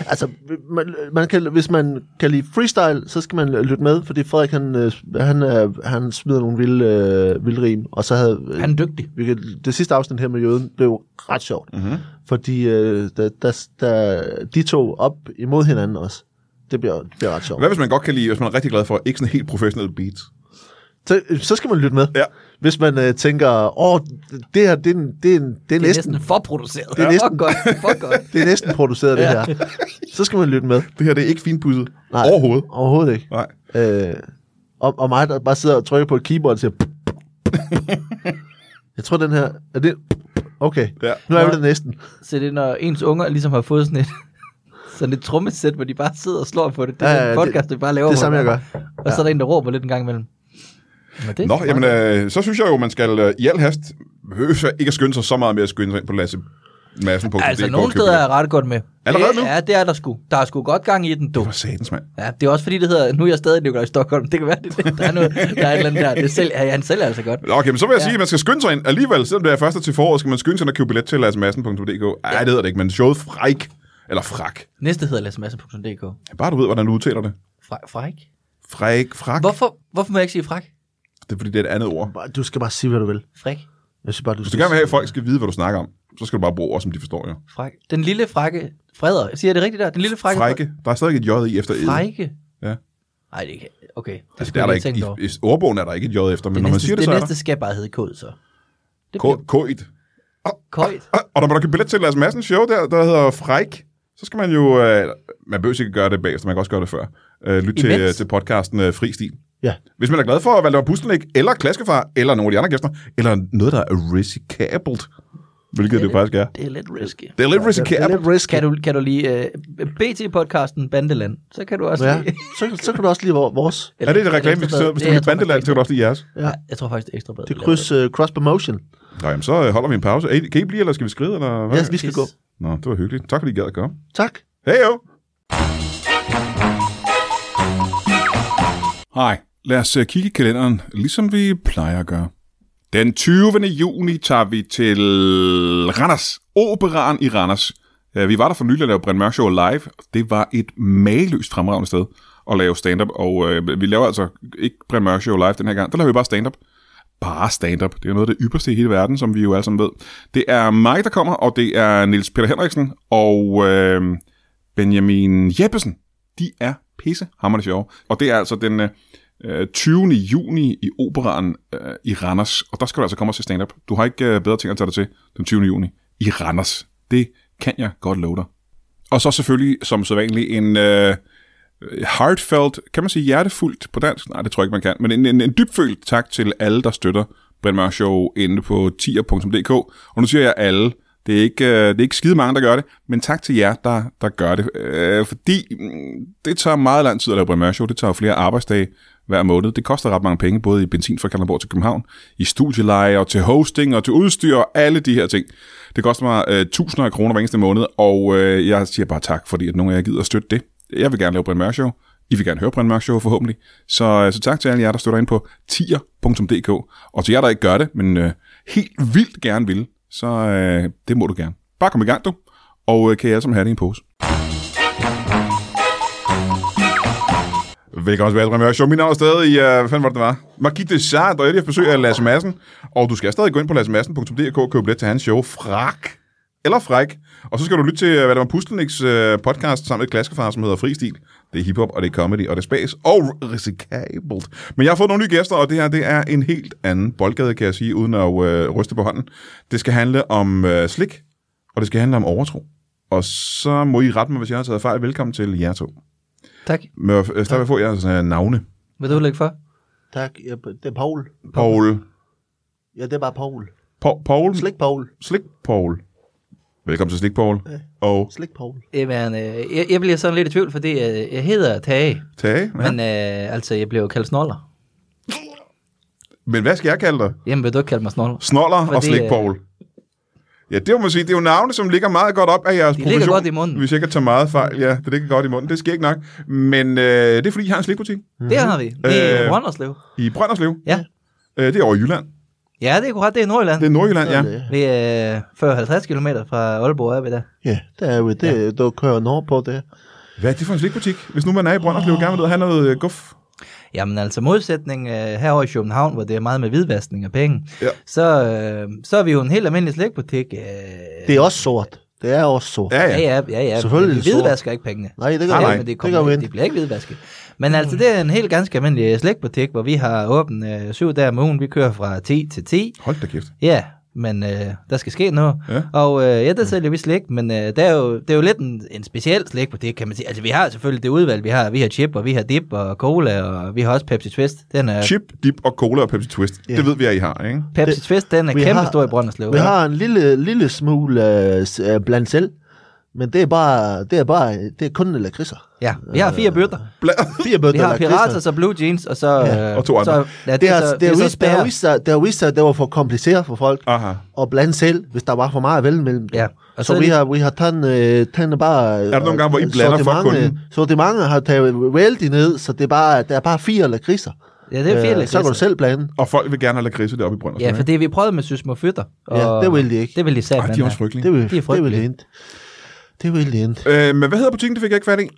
Speaker 2: Altså, man, man kan, hvis man kan lide freestyle, så skal man lytte med, fordi Frederik, han, øh, han, øh, han smider nogle vilde, øh, vilde rim, og så havde... øh,
Speaker 3: Han er dygtig.
Speaker 2: vi kan, det sidste afsnit her med jøden blev ret sjovt, mm-hmm. fordi øh, der, der, der, de to op imod hinanden også. Det bliver, det bliver ret sjovt.
Speaker 1: Hvad hvis man godt kan lide, hvis man er rigtig glad for ikke sådan helt professionelle beats?
Speaker 2: Så, øh, så skal man lytte med.
Speaker 1: Ja.
Speaker 2: Hvis man øh, tænker, åh, det her, det er, en- det er, en- det er
Speaker 3: Det er
Speaker 2: næsten,
Speaker 3: næsten forproduceret.
Speaker 2: Det er næsten-
Speaker 3: Fuck godt. Fuck godt.
Speaker 2: det er næsten produceret, det
Speaker 3: Ja.
Speaker 2: her. Så skal man lytte med.
Speaker 1: Det her, det er ikke finpudset
Speaker 2: Nej.
Speaker 1: overhovedet.
Speaker 2: Overhovedet ikke.
Speaker 1: Nej.
Speaker 2: Øh, og, og mig, der bare sidder og trykker på et keyboard og siger... jeg tror, den her... Er det... Okay,
Speaker 1: Ja.
Speaker 2: nu er vi det næsten.
Speaker 3: Så det er, når ens unger ligesom har fået sådan et, *laughs* sådan et trommesæt, hvor de bare sidder og slår på det. Det er
Speaker 2: Ja,
Speaker 3: ja,
Speaker 2: ja,
Speaker 3: ja,
Speaker 2: det-
Speaker 3: podcast, det, vi bare laver.
Speaker 2: Det er
Speaker 3: hvor
Speaker 2: samme, jeg
Speaker 3: man-
Speaker 2: gør.
Speaker 3: Og så er der en, der råber lidt en gang imellem. Men det
Speaker 1: Nå, jamen, øh, så synes jeg jo, man skal øh, i al hast, behøver sig ikke at skynde sig så meget med at skynde sig ind på Lasse Madsen på.
Speaker 3: Altså, nogle steder er jeg ret godt med.
Speaker 1: Allerede
Speaker 3: Det-
Speaker 1: nu?
Speaker 3: Ja, det er der sgu. Der er sgu godt gang i den, du.
Speaker 1: For satans, mand.
Speaker 3: Ja, det er også fordi, det hedder, nu er jeg stadig Nikolaj Stockholm. Det kan være, det er det. Der er, noget, der er et eller andet der. Det selv, ja, han sælger altså godt.
Speaker 1: Nå, Okay, men så vil jeg ja.
Speaker 3: Ja.
Speaker 1: sige, at man skal skynde sig ind. Alligevel, selvom det er første til foråret, skal man skynde sig ind og købe billet til lassemadsen.dk. Ej, det hedder det ikke, men showet fræk. Eller frak.
Speaker 3: Næste hedder lasmasse.dk.
Speaker 1: Bare du ved, hvordan du udtaler det.
Speaker 3: Fra- Fræk?
Speaker 1: Fræk, frak.
Speaker 3: Hvorfor, hvorfor må jeg ikke sige fræk?
Speaker 1: Det er fordi, det er et andet ord.
Speaker 2: Bare- Du skal bare sige, hvad du vil.
Speaker 3: Fræk.
Speaker 2: Jeg synes bare, du
Speaker 1: Hvis du gerne vil have, at folk skal vide, hvad du snakker om, så skal du bare bruge ord, som de forstår. Jo.
Speaker 3: Fræk. Den lille frække Freder. Siger jeg det rigtigt der? Den lille frække
Speaker 1: Frække. Der er stadig et j i efter ed.
Speaker 3: Frække?
Speaker 1: Ja.
Speaker 3: Nej, det kan Okay. Det,
Speaker 1: Altså,
Speaker 3: skulle
Speaker 1: det er
Speaker 3: jeg
Speaker 1: der
Speaker 3: lige
Speaker 1: ikke,
Speaker 3: tænke over.
Speaker 1: i, i, ordbogen er der ikke et j E efter, men
Speaker 3: det
Speaker 1: når man
Speaker 3: næste,
Speaker 1: siger det,
Speaker 3: det
Speaker 1: så er
Speaker 3: næste skal bare hedde kod, så. Det
Speaker 1: der K- K1.
Speaker 3: køjt.
Speaker 1: Og- Ah, Og når man har købt billet til Lars Madsen show der, der hedder Fræk, så skal man jo... Øh, man behøver ikke gøre det bagefter, man kan også gøre det før. Øh, lyt til,
Speaker 3: Imens.
Speaker 1: øh, til podcasten øh, Fri Stil.
Speaker 2: Ja.
Speaker 1: Hvis man er glad for Valdemar Pustelnik, eller Klaskefar, eller nogle af de andre gæster, eller noget, der er risikabelt, hvilket det, det
Speaker 3: lidt-
Speaker 1: faktisk er.
Speaker 3: Det er lidt risky.
Speaker 1: Det er lidt
Speaker 2: Det er
Speaker 1: risikabelt.
Speaker 2: lidt risky.
Speaker 3: Kan du, kan du lige uh, BT-podcasten Bandeland, så kan du også
Speaker 2: Ja,
Speaker 3: lige...
Speaker 2: så, så kan du også lide vor- vores.
Speaker 1: *laughs* Er det en reklame, vi skal sidde? Hvis du vil bandeland, så kan du også lide jeres.
Speaker 3: Ja. Jeg tror faktisk, det er ekstra bedre.
Speaker 2: Det er kryds, uh, cross promotion.
Speaker 1: Nej, jamen, så øh, holder vi en pause. Er I, kan I blive, eller skal vi skride? Eller hvad?
Speaker 2: Ja, vi skal
Speaker 3: Pis.
Speaker 2: gå.
Speaker 1: Nå, det var hyggeligt. Tak fordi I gad at komme.
Speaker 2: Tak.
Speaker 1: Hej jo!
Speaker 4: Hej, lad os øh, kigge i kalenderen, ligesom vi plejer at gøre. Den 20. juni tager vi til Randers, Operaren i Randers. Øh, Vi var der for nylig at lave Brian Mørk Show live. Det var et mageløst fremragende sted at lave stand-up, og øh, vi laver altså ikke Brian Mørk Show live den her gang. Der laver vi bare stand-up. Bare stand-up. Det er jo noget af det ypperste i hele verden, som vi jo alle sammen ved. Det er mig, der kommer, og det er Nils Peter Henriksen og øh, Benjamin Jeppesen. De er pisse hammerne sjove. Og det er altså den... Øh, øh, 20. juni i Operan øh, i Randers. Og der skal du altså komme og se stand-up. Du har ikke øh, bedre ting at tage dig til den 20. juni i Randers. Det kan jeg godt love dig. Og så selvfølgelig, som sædvanligt, en øh, heartfelt, kan man sige hjertefuldt på dansk? Nej, det tror jeg ikke, man kan. Men en, en, en dybfølt tak til alle, der støtter Brian Mørk Show inde på tier.dk. Og nu siger jeg alle. Det er, ikke, øh, det er ikke skide mange, der gør det, men tak til jer, der, der gør det. Øh, fordi mm, det tager meget lang tid at lave Brian Mørk Show. Det tager jo flere arbejdsdage hver måned. Det koster ret mange penge, både i benzin fra Kalundborg til København, i studieleje og til hosting og til udstyr og alle de her ting. Det koster mig øh, tusinder af kroner hver eneste måned, og øh, jeg siger bare tak, fordi at nogle af jer gider at støtte det. Jeg vil gerne lave Brian Mørk Show. I vil gerne høre Brian Mørk Show forhåbentlig. Så, øh, så tak til alle jer, der støtter ind på tier.dk. Og til jer, der ikke gør det, men øh, helt vildt gerne vil, så øh, det må du gerne. Bare kom i gang, du. Og øh, kan I alle sammen have det i en pose.
Speaker 1: Velkommen tilbage til Brian Mørk Show. Mit navn er stadig, uh, hvad fanden var det, det var? Margit Desart, og jeg lige har besøg af Lasse Madsen. Og du skal stadig gå ind på lassemassen.dk og købe billet til hans show, Frak. eller fræk. Og så skal du lytte til, hvad der var Pustelniks øh, podcast sammen med Klaskefar, som hedder Fristil. Det er hiphop, og det er comedy, og det er spas, og risikabelt. Men jeg har fået nogle nye gæster, og det her det er en helt anden boldgade, kan jeg sige, uden at øh, ryste på hånden. Det skal handle om øh, slik, og det skal handle om overtro. Og så må I rette mig, hvis jeg har taget fejl. Velkommen til jer to.
Speaker 3: Tak.
Speaker 1: Men øh, start med at få jeres øh, navne.
Speaker 3: Vil du lægge for?
Speaker 2: Tak, ja, det er Paul.
Speaker 1: Paul.
Speaker 2: Ja, det er bare Paul.
Speaker 1: Pa- Paul.
Speaker 2: Slik Paul.
Speaker 1: Slik Paul. Velkommen til Slik Paul. Og
Speaker 2: Slik Paul.
Speaker 3: Jamen, øh, jeg, jeg bliver sådan lidt i tvivl, fordi øh, jeg hedder Tage,
Speaker 1: Tage. Ja.
Speaker 3: men
Speaker 1: Men,
Speaker 3: øh, altså, jeg blev jo kaldt snoller.
Speaker 1: Men hvad skal jeg kalde dig?
Speaker 3: Jamen, vil du ikke kalde mig snoller?
Speaker 1: Snoller
Speaker 3: For
Speaker 1: og
Speaker 3: det,
Speaker 1: Slik
Speaker 3: øh,
Speaker 1: Paul. Ja, det må man sige, det er jo navne, som ligger meget godt op af jeres
Speaker 3: De ligger
Speaker 1: profession.
Speaker 3: godt i munden.
Speaker 1: Hvis jeg ikke tager meget fejl, ja, det ligger godt i munden. Det sker ikke nok. Men øh, det er fordi, I har en slikbutik
Speaker 3: Det har vi. Det er
Speaker 1: Mhm. Øh.
Speaker 3: øh... Ronderslev.
Speaker 1: i Brønderslev.
Speaker 3: Ja.
Speaker 1: Øh, det er over i Jylland.
Speaker 3: ja, det er korrekt. Det er Nordjylland.
Speaker 1: Det er Nordjylland, ja.
Speaker 2: Det,
Speaker 3: Vi er øh, 40-50 km fra Aalborg, er vi der.
Speaker 2: ja, der er jo det, ja. der kører nord på det.
Speaker 1: Hvad er det for en slikbutik? Hvis nu man er i Brønderslev, gerne vil have noget øh, guf.
Speaker 3: Jamen altså modsætning øh, herovre i København, hvor det er meget med hvidvaskning af penge,
Speaker 1: Ja.
Speaker 3: så, øh, så er vi jo en helt almindelig slikbutik. Øh,
Speaker 2: Det er også sort. Det er også sort.
Speaker 1: Ja,
Speaker 3: ja,
Speaker 1: ja.
Speaker 3: ja, ja, ja.
Speaker 2: Selvfølgelig
Speaker 3: Vi
Speaker 2: er det sort.
Speaker 3: hvidvasker ikke pengene.
Speaker 2: Nej, det gør
Speaker 1: Nej,
Speaker 2: vi
Speaker 1: nej,
Speaker 2: ikke. det
Speaker 3: men det,
Speaker 2: gør
Speaker 3: kommer,
Speaker 2: vi
Speaker 3: det,
Speaker 2: ikke. Mm.
Speaker 3: det bliver ikke hvidvasket. Men altså, det er en helt ganske almindelig slikbutik, hvor vi har åbent øh, syv dage om ugen. Vi kører fra 10 til 10.
Speaker 1: Hold da kæft.
Speaker 3: Ja, men øh, der skal ske noget.
Speaker 1: Ja.
Speaker 3: Og øh, ja, der sælger vi slik, men øh, det, er jo, det er jo lidt en, en speciel slik på det, kan man sige. Altså, vi har selvfølgelig det udvalg, vi har. Vi har chip, og vi har dip og cola, og vi har også Pepsi Twist. Den er,
Speaker 1: Chip, dip og cola og Pepsi Twist.
Speaker 2: Ja.
Speaker 1: Det ved vi, at I har, ikke?
Speaker 3: Pepsi
Speaker 2: Det-
Speaker 3: Twist, den er
Speaker 2: vi
Speaker 3: kæmpe
Speaker 2: har-
Speaker 3: stor i Brønderslev.
Speaker 2: Vi
Speaker 3: Ja.
Speaker 2: har en lille, lille smule øh, s- øh, blandt selv, men det er bare, det er bare, det er kun
Speaker 1: *laughs*
Speaker 2: lakridser.
Speaker 3: ja, vi har fire bøtter.
Speaker 1: Bla-
Speaker 2: Fire bøtter
Speaker 3: Vi har
Speaker 2: lakridser.
Speaker 3: pirater, så blue jeans, og så... Ja,
Speaker 1: og to andre.
Speaker 3: Så, ja,
Speaker 2: Det har,
Speaker 3: så,
Speaker 2: det,
Speaker 3: er
Speaker 2: har
Speaker 3: så
Speaker 2: vist, det, har
Speaker 3: spærre.
Speaker 2: vist sig, det har vist sig, at det var for kompliceret for folk
Speaker 1: Aha.
Speaker 2: at blande selv, hvis der var for meget at vælge mellem dem.
Speaker 3: Ja,
Speaker 2: Og
Speaker 3: og
Speaker 2: så,
Speaker 3: så er
Speaker 2: vi
Speaker 3: det-
Speaker 2: har, vi har taget, øh, taget bare... øh, Er
Speaker 1: der nogle gange, hvor I blander for kunden?
Speaker 2: Så det mange har taget vældig ned, så det er bare, der er bare fire lakridser.
Speaker 3: Ja, det er fire
Speaker 2: Øh, Så kan du selv blande.
Speaker 1: Og folk vil gerne have lakridse deroppe i Brønderslev.
Speaker 3: Ja, for det vi prøvede med sysmofytter.
Speaker 2: Ja, det vil de ikke.
Speaker 3: Det vil de
Speaker 1: Ej,
Speaker 3: sagt.
Speaker 1: de er også frygtelige.
Speaker 2: Det vil,
Speaker 3: De er
Speaker 2: det vil
Speaker 3: frygtelige.
Speaker 2: hente. Det vil hente.
Speaker 1: Øh, men hvad hedder butikken, det fik jeg ikke fat i?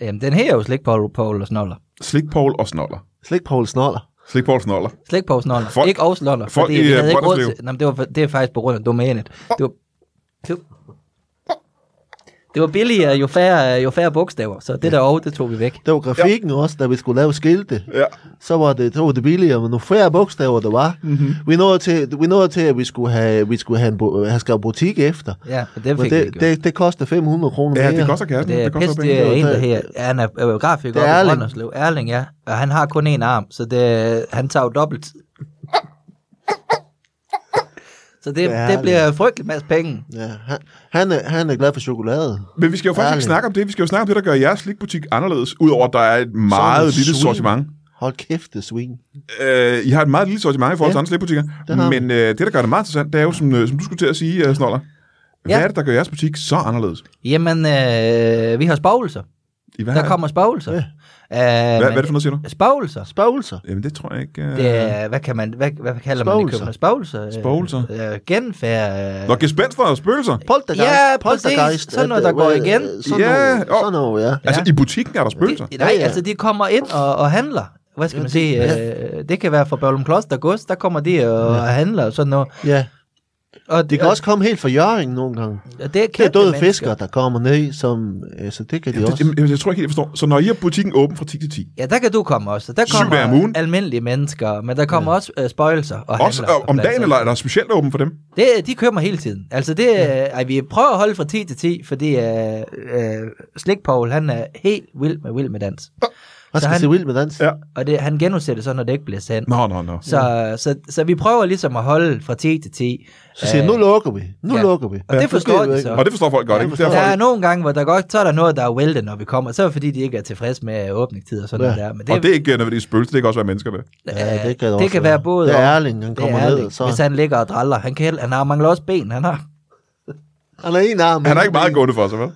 Speaker 3: Jamen, den her er jo slik på Paul og Snoller.
Speaker 1: Slik Paul og Snoller.
Speaker 2: Slik Paul Snoller.
Speaker 1: Slik Paul og Snoller.
Speaker 3: Slik på Snoller.
Speaker 1: Folk-
Speaker 3: ikke og Snoller.
Speaker 1: folk
Speaker 3: Fordi
Speaker 1: i,
Speaker 3: vi
Speaker 1: øh,
Speaker 3: havde ikke råd
Speaker 1: Brønderslev.
Speaker 3: til... Nå, men det, var, det er faktisk på grund af domænet. Det var, Klub. det var billigere, jo færre, jo færre bogstaver. Så det der og, det tog vi væk.
Speaker 2: Det var grafikken ja. også, da vi skulle lave skilte.
Speaker 1: Ja.
Speaker 2: Så var det, så var det billigere, men nogle flere bogstaver, der var.
Speaker 3: Mhm.
Speaker 2: Mm-hmm. Vi, nåede til, vi nåede til, at vi skulle have, vi skulle have, en, bo- have skrevet butik efter.
Speaker 3: Ja, men den
Speaker 2: Men
Speaker 3: fik det, vi
Speaker 2: det,
Speaker 3: ikke gjort. Det,
Speaker 2: det, det koster 500 kroner
Speaker 1: Ja,
Speaker 2: mere.
Speaker 1: det koster kassen.
Speaker 3: det er
Speaker 1: koster
Speaker 3: pisse,
Speaker 1: penge.
Speaker 3: det er en,
Speaker 2: Det-
Speaker 3: der her. Ja, han er øh, grafiker
Speaker 2: Det er
Speaker 3: oppe i
Speaker 2: Erling.
Speaker 3: Brønderslev. Erling, ja. Og han har kun én arm, så det, han tager jo dobbelt. Så det,
Speaker 2: er
Speaker 3: det,
Speaker 2: Erling.
Speaker 3: bliver frygtelig masse penge.
Speaker 2: Ja, han, han, er, han er glad for chokolade.
Speaker 1: Men vi skal jo faktisk ikke
Speaker 2: Ærligt.
Speaker 1: snakke om det. Vi skal jo snakke om det, der gør jeres slikbutik anderledes, udover at der er et meget
Speaker 2: Sådan
Speaker 1: lille
Speaker 2: swing.
Speaker 1: sortiment.
Speaker 2: Hold kæft, det svin.
Speaker 1: Øh, I har et meget lille sortiment i forhold til
Speaker 2: Ja,
Speaker 1: andre slikbutikker.
Speaker 2: det har vi.
Speaker 1: Men øh, det, der gør det meget interessant, det er jo, som, øh, som du skulle til at sige, øh, Snoller. Hvad
Speaker 3: Ja.
Speaker 1: er det, der gør jeres butik så anderledes?
Speaker 3: Jamen, øh, vi har spagelser.
Speaker 1: I hvad,
Speaker 3: Der kommer Øh, spagelser.
Speaker 2: Ja.
Speaker 3: Ja.
Speaker 1: hvad, hvad er det for noget, siger du?
Speaker 3: Spagelser.
Speaker 2: Spøgelser.
Speaker 1: Jamen, det tror jeg ikke. Øh...
Speaker 3: Det er, hvad, kan man, hvad, hvad kalder man det i
Speaker 2: Spøgelser.
Speaker 3: København? Spagelser.
Speaker 1: Spagelser.
Speaker 3: Øh, genfærd. Øh,
Speaker 1: Nå, gespenster og spøgelser.
Speaker 2: Poltergeist.
Speaker 3: Ja, præcis.
Speaker 2: poltergeist.
Speaker 3: Sådan noget,
Speaker 2: At,
Speaker 3: der går
Speaker 2: øh,
Speaker 3: igen.
Speaker 2: øh, Sådan
Speaker 1: Ja,
Speaker 2: noget,
Speaker 1: jo.
Speaker 2: sådan noget, ja.
Speaker 1: Altså, i butikken er der spøgelser.
Speaker 3: de, nej,
Speaker 2: Ja, ja.
Speaker 3: altså de kommer ind og, og handler. Hvad skal man sige? Øh, det kan være fra Børlum Kloster Gods, der kommer de og ja. handler og sådan noget.
Speaker 2: ja.
Speaker 3: Og
Speaker 2: Det kan også komme helt fra Jøring nogle gange.
Speaker 3: og det er,
Speaker 2: Det er
Speaker 3: kæmpe
Speaker 2: døde
Speaker 3: mennesker.
Speaker 2: fiskere, der kommer ned, som, øh, så det kan de
Speaker 1: Jamen, det,
Speaker 2: også.
Speaker 1: jamen, jeg tror ikke helt, jeg forstår. Så når I har butikken åben fra 10 til 10,
Speaker 3: Ja, der kan du komme også. Der
Speaker 1: Syv dage om ugen.
Speaker 3: kommer almindelige mennesker, men der kommer også øh, spøgelser og
Speaker 1: også
Speaker 3: altså- handler.
Speaker 1: øh, om dagen, eller er der specielt åben for dem?
Speaker 3: Det, de kører mig hele tiden. Altså det, ja. øh, ej, vi prøver at holde fra 10 til 10, fordi øh, øh, Slik Paul, han er helt vild med vild med dans.
Speaker 2: Man skal
Speaker 3: han-
Speaker 2: se vild med dans.
Speaker 1: Ja.
Speaker 3: Og det, han genudsætter så, når det ikke bliver sendt.
Speaker 1: Nå, nå, nå.
Speaker 3: Så, så, så vi prøver ligesom at holde fra 10 til 10.
Speaker 2: Så siger jeg, nu lukker vi. Nu
Speaker 3: ja.
Speaker 2: lukker vi.
Speaker 3: Og det
Speaker 2: Nu
Speaker 3: forstår
Speaker 2: giver vi
Speaker 3: de
Speaker 2: ikke.
Speaker 3: så.
Speaker 1: Og det forstår folk godt,
Speaker 2: Ja,
Speaker 1: ikke?
Speaker 2: forstår
Speaker 1: Derfor,
Speaker 3: Der er nogle gange, hvor der går, så er der noget, der er væltet, når vi kommer. Så er det fordi, de ikke er tilfredse med åbningstid og sådan
Speaker 2: Ja.
Speaker 3: noget der. Men øh,
Speaker 1: og det er ikke øh, nødvendigvis spøgelser, det kan også være mennesker, det.
Speaker 2: Ja, det kan,
Speaker 3: det
Speaker 2: også
Speaker 3: kan være både
Speaker 2: Det er
Speaker 3: og.
Speaker 2: Erling, han
Speaker 3: det
Speaker 2: kommer
Speaker 3: er
Speaker 2: ned,
Speaker 3: det.
Speaker 2: så...
Speaker 3: Hvis han ligger og draller. Han, kan, hel- han har mangler også ben. Han har.
Speaker 2: Han er en arm.
Speaker 1: Han er ikke meget gående for sig, vel?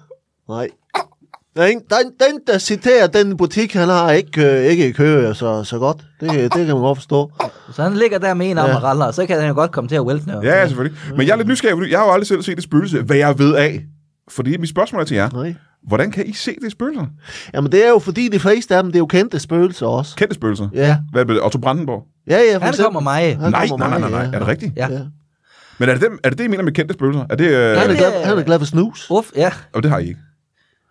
Speaker 2: Nej. Der er ingen, der, er ingen- den, der citerer den butik, han har ikke, øh, ikke kører så, så godt. Det, kan- det kan man godt forstå.
Speaker 3: Så han ligger der med en arm
Speaker 2: Ja.
Speaker 3: og raller, og så kan han jo godt komme til at vælte noget.
Speaker 1: Ja, ja, selvfølgelig. Men jeg er lidt nysgerrig, fordi jeg har jo aldrig selv set et spøgelse, hvad jeg ved af. Fordi mit spørgsmål er til jer.
Speaker 2: Nej.
Speaker 1: Hvordan kan I se det spøgelser?
Speaker 2: Jamen, det er jo fordi, de fleste af dem, det er jo kendte spøgelser også.
Speaker 1: Kendte spøgelser?
Speaker 2: Ja,
Speaker 1: Hvad blev det? Otto Brandenborg?
Speaker 2: ja, ja. for
Speaker 3: Han
Speaker 2: eksempel.
Speaker 3: kommer mig.
Speaker 2: Han
Speaker 1: Nej,
Speaker 2: kommer
Speaker 1: nej, nej,
Speaker 2: meget,
Speaker 1: nej, nej.
Speaker 2: ja.
Speaker 1: Er det rigtigt?
Speaker 3: Ja.
Speaker 2: Ja.
Speaker 1: Men Men er det, dem, er det det, I mener med kendte spøgelser? Er det, øh,
Speaker 2: Han er,
Speaker 3: det-
Speaker 2: glad, han er glad for snus.
Speaker 3: Uff, ja.
Speaker 1: og det har I ikke.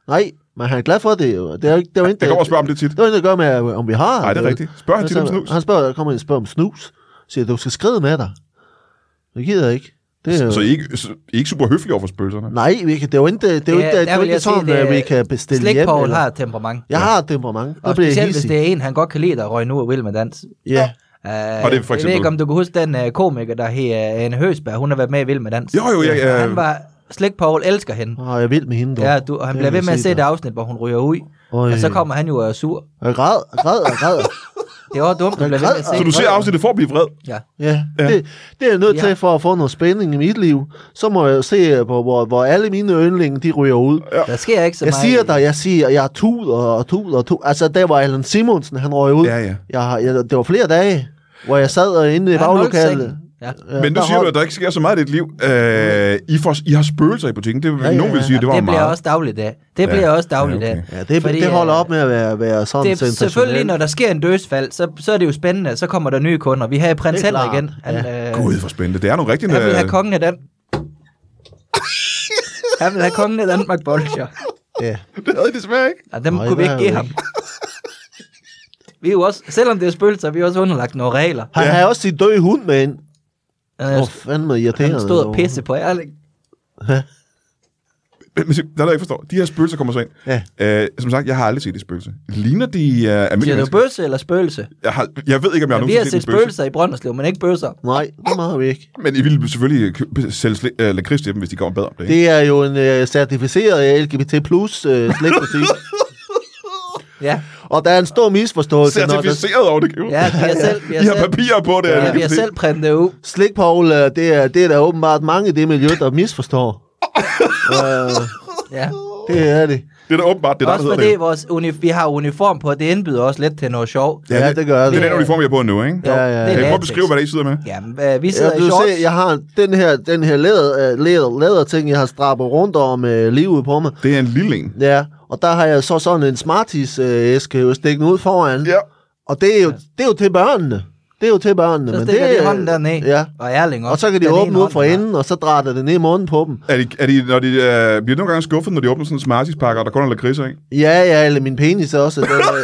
Speaker 2: Nej, men han er glad for det jo. Det er jo ikke, det er jo ikke,
Speaker 1: Jeg går og spørger om det tit.
Speaker 2: Det har ikke noget at gøre med, om vi har.
Speaker 1: Nej, det er rigtigt. Spørg han tit om snus.
Speaker 2: Han spørger, der kommer en og spørger om snus. Siger, du skal skride med dig. Det gider jeg ikke. Det er jo...
Speaker 1: Så I er ikke, så I er ikke super høflige over for spøgelserne?
Speaker 2: Nej, vi kan, det er jo ikke, det er jo
Speaker 3: Ja,
Speaker 2: ikke, det
Speaker 3: der
Speaker 2: er jo
Speaker 3: vil
Speaker 2: ikke
Speaker 3: jeg sige,
Speaker 2: sådan,
Speaker 3: det er-
Speaker 2: at vi kan bestille
Speaker 3: Slik
Speaker 2: hjem.
Speaker 3: Paul
Speaker 2: eller-
Speaker 3: har et temperament.
Speaker 2: Jeg har temperament. Der
Speaker 3: Og
Speaker 2: bliver jeg
Speaker 3: specielt, hvis
Speaker 2: hissig.
Speaker 3: det er en, han godt kan lide, der røg nu og vil med dans.
Speaker 2: Ja.
Speaker 3: Uh,
Speaker 1: for
Speaker 3: Jeg ved
Speaker 1: eksempel-
Speaker 3: ikke, om du kan huske den uh, komiker, der hed uh, Anne Høsberg. Hun har været med i Vild med Dans.
Speaker 1: Jo, jo, jeg-
Speaker 3: Og
Speaker 1: jeg-
Speaker 3: Han var... Slik Paul elsker hende.
Speaker 2: Åh, jeg er vild med hende, du.
Speaker 3: Ja, du, og han
Speaker 2: Det
Speaker 3: bliver
Speaker 2: vil
Speaker 3: ved
Speaker 2: jeg
Speaker 3: med at se det
Speaker 2: dig.
Speaker 3: afsnit, hvor hun ryger ud.
Speaker 2: Øj.
Speaker 3: Og så kommer han jo og er sur.
Speaker 2: Jeg græd, jeg græd, jeg græd.
Speaker 3: Det var dumt, du bliver ved med at se.
Speaker 1: Så du ser
Speaker 3: det.
Speaker 1: afsnittet for at blive vred?
Speaker 3: Ja.
Speaker 2: Ja, det, det er jeg nødt
Speaker 3: Ja.
Speaker 2: til for at få noget spænding i mit liv. Så må jeg se, på, hvor, hvor alle mine yndlinge, de ryger ud.
Speaker 3: Der sker ikke så
Speaker 2: Jeg
Speaker 3: meget.
Speaker 2: siger dig, jeg siger, jeg er tud og tud og tud. Altså, der var Allan Simonsen, han røg ud.
Speaker 1: Ja, ja.
Speaker 2: Jeg, har- jeg, det var flere dage, hvor jeg sad og inde i
Speaker 3: Han holdt
Speaker 2: baglokalet.
Speaker 3: sengen. Ja.
Speaker 2: Ja,
Speaker 1: Men nu
Speaker 2: der
Speaker 1: siger du,
Speaker 2: holdt-
Speaker 1: at der ikke sker så meget i dit liv. Øh, I, får, I har spøgelser i butikken. Det, ja, ja,
Speaker 2: ja,
Speaker 1: nogen vil
Speaker 2: ja.
Speaker 1: sige, det var
Speaker 3: det bliver
Speaker 1: meget.
Speaker 3: også dagligdag. Det bliver også dagligdag.
Speaker 1: okay.
Speaker 2: Ja, det, Fordi, det holder op med at være, være sådan
Speaker 3: øh, det er selvfølgelig, når der sker en dødsfald, så, så er det jo spændende. Så kommer der nye kunder. Vi har prins
Speaker 2: Det er
Speaker 3: Henrik
Speaker 2: klart.
Speaker 3: igen. Han, ja. øh,
Speaker 1: Gud, hvor spændende. Det er nu rigtigt.
Speaker 3: han vil
Speaker 1: øh,
Speaker 3: have kongen af den. han vil have kongen af Danmark bolcher.
Speaker 2: Ja.
Speaker 1: *laughs* Det havde I desværre ikke.
Speaker 3: Og dem
Speaker 2: Nej,
Speaker 3: kunne vi
Speaker 2: det
Speaker 3: ikke
Speaker 2: er
Speaker 3: give
Speaker 2: jo
Speaker 3: ham. vi er jo også, selvom det er spøgelser, er vi er også underlagt nogle regler.
Speaker 2: Han har også sin døde hund med ind.
Speaker 3: Øh,
Speaker 2: Hvor fanden irriterende.
Speaker 3: han stod og
Speaker 2: dog.
Speaker 3: pisse på Erling.
Speaker 1: Men, men se, der er der ikke forstår. De her spøgelser kommer så ind.
Speaker 2: Ja.
Speaker 1: Øh, som sagt, jeg har aldrig set de spøgelser. Ligner de uh, almindelige
Speaker 3: Siger du
Speaker 1: mennesker?
Speaker 3: bøsse eller spøgelse?
Speaker 1: Jeg, har, jeg ved ikke, om jeg har
Speaker 3: Ja, vi har
Speaker 1: nogensinde set
Speaker 3: set
Speaker 1: en spøgelse.
Speaker 3: spøgelser i Brønderslev, men ikke bøsser.
Speaker 2: Nej, det må vi ikke.
Speaker 1: Men I ville selvfølgelig kø- sælge sli- øh, lakrids til dem, hvis de kommer bedre om det. Ikke?
Speaker 2: Det er jo en øh, certificeret LGBT plus øh,
Speaker 1: *laughs*
Speaker 2: slikbutik.
Speaker 3: Ja,
Speaker 2: og der er en stor
Speaker 1: Det
Speaker 2: misforståelse. når der-
Speaker 1: Certificeret over det.
Speaker 3: ja vi har selv, vi har
Speaker 1: I har
Speaker 3: selv,
Speaker 1: papirer på det. er det
Speaker 3: ja,
Speaker 1: ikke
Speaker 3: vi har
Speaker 1: det?
Speaker 3: selv printet ud.
Speaker 2: Slik, Paul, øh, det er, det er der åbenbart mange i det miljø, der
Speaker 1: *laughs*
Speaker 2: misforstår. øh,
Speaker 3: Ja.
Speaker 2: det er det.
Speaker 1: Det er da åbenbart, det er der, der
Speaker 3: Også
Speaker 1: hedder
Speaker 3: fordi
Speaker 1: det.
Speaker 3: vores uni- vi har uniform på, og det indbyder også lidt til noget sjov.
Speaker 2: Ja, det, det gør
Speaker 1: Det er den
Speaker 2: det.
Speaker 1: uniform, jeg har på nu, ikke?
Speaker 2: Ja, ja,
Speaker 1: Kan I
Speaker 2: ja.
Speaker 1: prøve at
Speaker 3: latex.
Speaker 1: beskrive, hvad det er, I sidder med?
Speaker 3: Jamen, øh, vi sidder
Speaker 2: Jeg,
Speaker 3: i
Speaker 2: du
Speaker 3: shorts.
Speaker 2: se, jeg har den her, den her læder, øh, læder, læder ting, jeg har strappet rundt om øh, livet på mig.
Speaker 1: Det er en lille en.
Speaker 2: Ja, og der har jeg så sådan en Smarties-æske øh, stikkende ud foran.
Speaker 1: Ja.
Speaker 2: Og det er, jo, det er jo til børnene. Det er jo til børnene.
Speaker 3: Så
Speaker 2: men
Speaker 3: stikker
Speaker 2: det,
Speaker 3: de hånden derned,
Speaker 2: Ja.
Speaker 3: og Erling også.
Speaker 2: Og så kan de
Speaker 3: Den
Speaker 2: åbne
Speaker 3: ene
Speaker 2: ud
Speaker 3: hånd,
Speaker 2: fra
Speaker 3: ja.
Speaker 2: enden, og så drætter det ned i munden på dem.
Speaker 1: Er de, er de, når de, øh, bliver de nogle gange skuffet, når de åbner sådan en Smarties-pakke, og der kun er lakridser i?
Speaker 2: Ja, ja, eller min penis er også. Den er,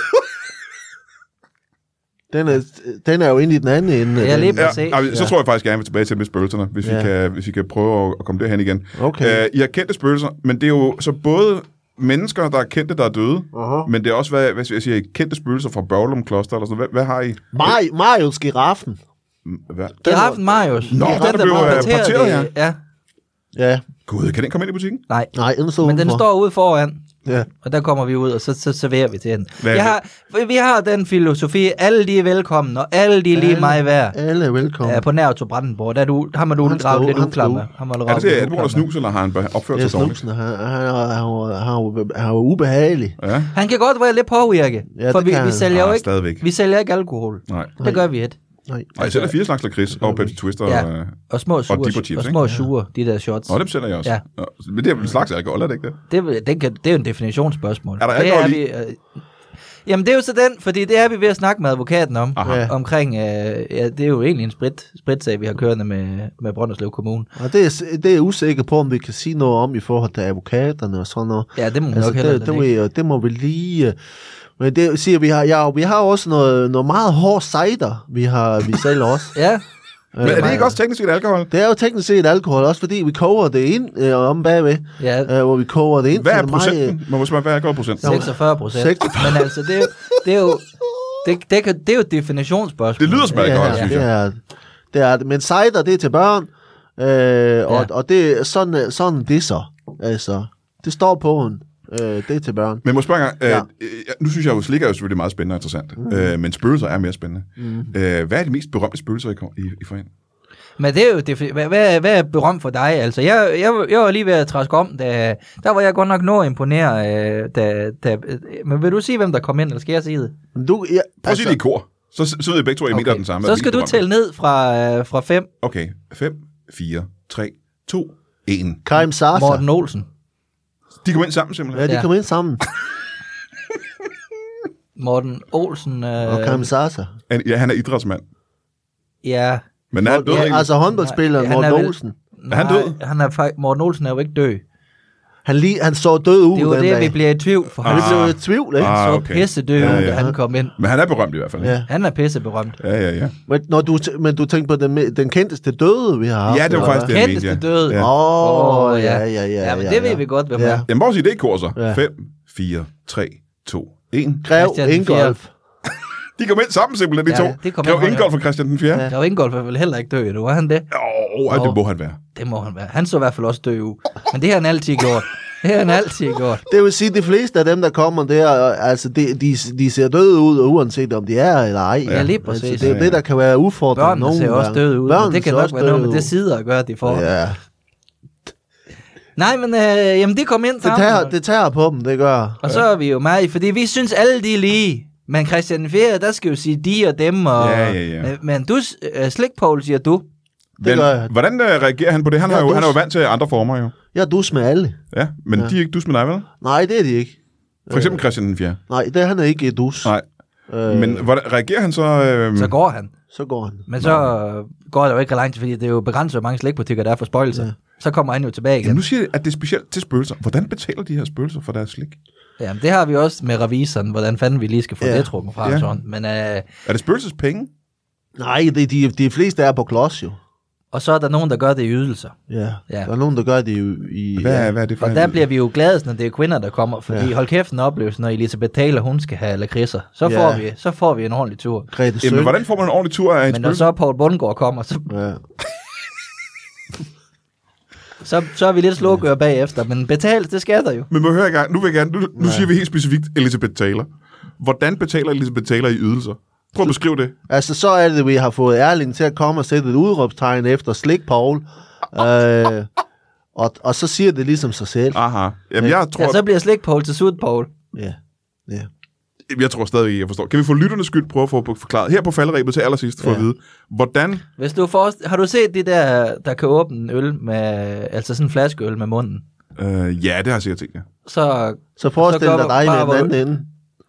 Speaker 2: den er, den er jo inde i den anden ende.
Speaker 3: Ja, lige
Speaker 2: den,
Speaker 1: Ja,
Speaker 3: præcis. Se.
Speaker 1: altså, så tror jeg faktisk gerne, at vi er tilbage til med spøgelserne, hvis, ja.
Speaker 2: Ja.
Speaker 1: vi kan, hvis vi kan prøve at, at komme derhen igen.
Speaker 2: Okay.
Speaker 1: Øh, I har kendte spøgelser, men det er jo så både mennesker, der er kendte, der er døde,
Speaker 2: Aha.
Speaker 1: men det er også, hvad, hvad skal jeg siger, kendte spøgelser fra Børglum Kloster eller sådan noget. Hvad, hvad har I?
Speaker 2: Mari- Marius Giraffen.
Speaker 1: Hvad?
Speaker 3: Det har haft Marius.
Speaker 1: Nå,
Speaker 3: Det er
Speaker 1: den, der blev,
Speaker 3: bare
Speaker 1: øh,
Speaker 3: parteret
Speaker 1: parteret,
Speaker 3: i- ja.
Speaker 2: Ja,
Speaker 1: Gud, kan den komme ind i butikken?
Speaker 3: Nej,
Speaker 2: nej, den står
Speaker 3: men den
Speaker 2: udenfor.
Speaker 3: står ude foran.
Speaker 2: Ja.
Speaker 3: Og der kommer vi ud, og så, så serverer vi til hende.
Speaker 1: Hvad er
Speaker 3: Jeg
Speaker 1: det?
Speaker 3: har, vi har den filosofi, alle de er velkommen, og alle de er lige
Speaker 2: Alle.
Speaker 3: mig værd.
Speaker 2: Alle er velkommen.
Speaker 3: Ja,
Speaker 2: Ja,
Speaker 3: på nær Otto Brandenborg, der er du, har man
Speaker 2: Han skal
Speaker 3: udgravet
Speaker 2: ud,
Speaker 3: lidt
Speaker 2: han skal
Speaker 3: uklamme.
Speaker 2: ud.
Speaker 3: Har man
Speaker 1: Er det, det er det på grund af snus, eller har han be- opført
Speaker 2: det er
Speaker 1: sig dårligt?
Speaker 2: snuksen. Han, han, er- han, er- han, er- han er ubehagelig.
Speaker 1: Ja,
Speaker 3: Han kan godt være lidt påvirket,
Speaker 2: Ja,
Speaker 3: for
Speaker 2: det
Speaker 3: vi,
Speaker 2: kan
Speaker 3: vi,
Speaker 2: han.
Speaker 3: sælger jo
Speaker 1: Ah,
Speaker 3: ikke,
Speaker 1: stadigvæk.
Speaker 3: vi sælger ikke alkohol.
Speaker 1: nej.
Speaker 3: Det gør vi ikke.
Speaker 2: Nej.
Speaker 1: Og I sælger fire slags lakrids og Pepsi Twister.
Speaker 3: Ja.
Speaker 1: Og,
Speaker 3: Og små sure,
Speaker 1: Dipper chips,
Speaker 3: og
Speaker 1: ikke?
Speaker 3: små sure de der shots.
Speaker 1: og dem sælger jeg også.
Speaker 3: Ja.
Speaker 1: Ja. Men det er vel en slags alkohol, er det ikke det?
Speaker 3: Det, det, kan, det er jo en definitionsspørgsmål.
Speaker 1: Er der
Speaker 3: det
Speaker 1: alkohol
Speaker 3: vi, øh, jamen, det er jo så den, fordi det er vi ved at snakke med advokaten om.
Speaker 1: Aha.
Speaker 2: Ja.
Speaker 3: Omkring, øh, ja, det er jo egentlig en sprit, spritsag, vi har kørende med, med Brønderslev Kommune.
Speaker 2: Og det er, det er jeg usikker på, om vi kan sige noget om i forhold til advokaterne og sådan noget.
Speaker 3: Ja, det må man
Speaker 2: Altså,
Speaker 3: nok heller
Speaker 2: det,
Speaker 3: det,
Speaker 2: det, må, jeg- det må vi lige... øh, Men det siger vi har, ja, vi har også noget, noget meget hård cider, vi, har,
Speaker 3: *laughs*
Speaker 2: vi sælger også.
Speaker 3: Ja,
Speaker 1: Men er det ikke også teknisk set alkohol?
Speaker 2: Det er jo teknisk set alkohol, også fordi vi koger det ind øh, om bagved,
Speaker 3: ja
Speaker 2: øh, hvor vi koger det ind.
Speaker 1: Hvad
Speaker 2: så
Speaker 1: er
Speaker 2: det
Speaker 1: procenten?
Speaker 2: Meget, øh,
Speaker 1: Må man spørge, hvad er alkoholprocenten?
Speaker 3: 46 procent.
Speaker 2: 46.
Speaker 3: Men altså, det er jo... Det er jo det, det, kan, det er jo et definitionsspørgsmål.
Speaker 1: Det lyder som
Speaker 2: øh,
Speaker 1: alkohol,
Speaker 2: ja,
Speaker 1: synes
Speaker 2: det,
Speaker 1: jeg.
Speaker 2: er, det er det. Men cider, det er til børn, øh, og,
Speaker 3: Ja.
Speaker 2: og det, er sådan, øh, sådan det så. Altså, det står på en. Øh, det er til børn.
Speaker 1: Men må jeg spørge en gang, øh,
Speaker 2: Ja.
Speaker 1: øh, nu synes jeg jo, slik er jo selvfølgelig meget spændende og interessant, mm. øh, men spøgelser er mere spændende. Mm. Øh, hvad er de mest berømte spøgelser, I, kom, I, I får ind?
Speaker 3: Men det er jo, det, hvad, hvad, hvad er berømt for dig? Altså, jeg, jeg, jeg var lige ved at træske om, da, der var jeg godt nok nået imponeret. Øh, da, da, øh, men vil du sige, hvem der kom ind, eller skal jeg sige det?
Speaker 2: Men Du, ja, altså,
Speaker 1: Prøv at sige det i kor. Så, så ved I begge to, at I okay. mener den samme.
Speaker 3: Så
Speaker 1: er den
Speaker 3: skal du
Speaker 1: mest
Speaker 3: tælle ned fra, øh, fra fem.
Speaker 1: berømte. Okay, 5, 4, 3, 2, 1.
Speaker 2: Karim Sarsa.
Speaker 3: Morten Olsen.
Speaker 1: De kom ind sammen
Speaker 2: Ja,
Speaker 1: simpelthen.
Speaker 2: de
Speaker 3: Ja.
Speaker 2: kom ind sammen.
Speaker 3: Morten øh, Olsen. Øh,
Speaker 2: Og Karim Sarsa.
Speaker 1: Ja, ja han er idrætsmand,
Speaker 3: Ja,
Speaker 1: men Men er han død
Speaker 2: Ja,
Speaker 1: ja,
Speaker 2: altså håndboldspilleren
Speaker 3: Nej, han
Speaker 2: Morten
Speaker 3: er vel-
Speaker 2: Olsen.
Speaker 1: Er han død?
Speaker 3: Nej, Han er, fakt- Morten Olsen er jo ikke død.
Speaker 2: Han, lige, han så død ud
Speaker 3: Det er jo
Speaker 2: den
Speaker 3: det,
Speaker 2: dag.
Speaker 3: vi bliver i tvivl for.
Speaker 2: Og
Speaker 3: Han
Speaker 2: det
Speaker 3: ah,
Speaker 2: blev jo et tvivl, ikke?
Speaker 1: Ah.
Speaker 3: så
Speaker 1: okay.
Speaker 3: okay. pissedød,
Speaker 1: Ja,
Speaker 3: ja,
Speaker 1: ja.
Speaker 3: ja. da han kom ind.
Speaker 1: Men han er berømt i hvert fald. Ja,
Speaker 2: Ja.
Speaker 3: Han er pisseberømt.
Speaker 1: ja, ja. ja.
Speaker 2: Men, når du, t- men du tænker på den, me- den kendteste døde, vi har haft.
Speaker 1: Ja, det var
Speaker 2: eller
Speaker 1: faktisk
Speaker 2: hvad?
Speaker 1: det, jeg
Speaker 3: Kendteste
Speaker 1: mente, ja.
Speaker 3: døde.
Speaker 1: Ja.
Speaker 2: Åh,
Speaker 3: Åh,
Speaker 2: ja, ja, ja.
Speaker 3: Ja, men
Speaker 2: ja,
Speaker 3: det
Speaker 2: ja.
Speaker 3: ved vi godt, hvem er.
Speaker 1: Jamen, hvor sige det kor så?
Speaker 2: Ja.
Speaker 1: 5, 4, 3, 2, 1.
Speaker 2: Grev
Speaker 3: Christian den
Speaker 2: Ingolf.
Speaker 1: De kom ind sammen simpelthen, de
Speaker 3: Ja,
Speaker 1: to.
Speaker 3: det kom
Speaker 1: Grev
Speaker 3: ind fra-
Speaker 1: Ingolf og Christian den 4. Ja.
Speaker 2: Ja.
Speaker 3: Der var ingen golfer vel heller ikke død, endnu, var han det?
Speaker 1: Åh, oh, det må han være.
Speaker 3: Det må han være. Han så i hvert fald også død ud. Men det har han altid gjort. Det har han altid gjort.
Speaker 2: Det vil sige, at de fleste af dem, der kommer der, øh, altså, de, de, de ser døde ud, og uanset om de er eller ej.
Speaker 3: Ja, lige
Speaker 2: altså,
Speaker 3: præcis.
Speaker 2: det er jo det, der kan være udfordrende
Speaker 3: Børnene ser også døde ud. men det kan nok være noget med det sider at gøre, at de får. Ja.
Speaker 2: Ja.
Speaker 3: Nej, men øh, jamen, det kom ind
Speaker 2: Det,
Speaker 3: sammen.
Speaker 2: tager, det tager på dem, det gør.
Speaker 3: Og så er vi jo meget, i- fordi vi synes alle de er lige. Men Christian Fjerde, der skal jo sige de og dem. Og,
Speaker 1: Ja, ja, ja.
Speaker 3: Men, men du, s- øh, Slik Paul siger du.
Speaker 2: Det
Speaker 1: Men
Speaker 2: gør jeg.
Speaker 1: hvordan øh, reagerer han på det? Han,
Speaker 2: Ja,
Speaker 1: er, jo,
Speaker 2: dus.
Speaker 1: han er jo vant til andre former, jo.
Speaker 2: Jeg er dus med alle.
Speaker 1: Ja, men ja. de er ikke dus med dig, vel?
Speaker 2: Nej, det er de ikke.
Speaker 3: Øh.
Speaker 1: For eksempel Christian den 4.
Speaker 2: Nej, det er han er ikke et dus.
Speaker 1: Nej.
Speaker 2: Øh,
Speaker 1: Men hvordan reagerer han så? Øh,
Speaker 3: Så går han.
Speaker 2: Så går han.
Speaker 3: Men så øh, går det jo ikke ret langt, fordi det er jo begrænset, hvor mange slikbutikker der er for spøjelser. Ja. Så kommer han jo tilbage igen.
Speaker 1: Jamen, nu siger jeg, at det er specielt til spøgelser. Hvordan betaler de her spøgelser for deres slik?
Speaker 3: Jamen, det har vi også med revisoren, hvordan fanden vi lige skal få
Speaker 2: Ja.
Speaker 3: ja. det trukket fra.
Speaker 1: Ja.
Speaker 3: Ja. Sådan. Men, øh,
Speaker 1: Er det spøgelsespenge?
Speaker 2: Nej, det, de, de fleste er på klods jo.
Speaker 3: og så er der nogen, der gør det i ydelser.
Speaker 2: Ja.
Speaker 3: Ja.
Speaker 2: Der er nogen, der gør det i... i
Speaker 1: Hvad,
Speaker 2: ja.
Speaker 1: hvad er det for
Speaker 3: Og
Speaker 1: en-
Speaker 3: der bliver vi jo glade, når det er kvinder, der kommer. Fordi
Speaker 2: Ja.
Speaker 3: ja. hold kæft en oplevelse, når Elisabeth Taylor, hun skal have lakridser. Så,
Speaker 2: Ja.
Speaker 3: ja. får vi, så får vi en ordentlig tur.
Speaker 2: Grete
Speaker 1: Jamen,
Speaker 2: Sønk.
Speaker 1: hvordan får man en ordentlig tur af en
Speaker 3: Men når
Speaker 1: spøgelse?
Speaker 3: så Poul Bundgaard kommer, så,
Speaker 2: Ja.
Speaker 3: så, så er vi lidt slukører bagefter. Men betales, det skal der jo.
Speaker 1: Men må jeg høre engang, nu vil jeg gerne, nu, nu siger vi helt specifikt Elizabeth Taylor. Hvordan betaler Elizabeth Taylor i ydelser? Prøv at beskrive det.
Speaker 2: Altså, så er det, vi har fået Erling til at komme og sætte et udråbstegn efter Slik
Speaker 3: *laughs*
Speaker 2: Paul. øh, og, og så siger det ligesom sig selv.
Speaker 3: Ah.
Speaker 1: Aha. Jamen, jeg tror,
Speaker 3: Ja, så bliver slik Poul til sut Poul.
Speaker 2: Ja. ja.
Speaker 1: jeg tror stadig ikke, jeg forstår. Kan vi få lytternes skyld prøve at få forklaret her på falderæbet til allersidst for
Speaker 2: Ja.
Speaker 1: at vide, hvordan...
Speaker 3: Hvis du forst- har du set det der, der kan åbne en øl med, altså sådan en flaskeøl med munden?
Speaker 1: Øh, ja, det har jeg sikkert tænkt, ja.
Speaker 3: Så,
Speaker 2: Så forestil
Speaker 3: Så gør
Speaker 2: dig
Speaker 3: du
Speaker 2: dig i
Speaker 3: bare,
Speaker 2: den
Speaker 3: hvor-
Speaker 2: anden ende,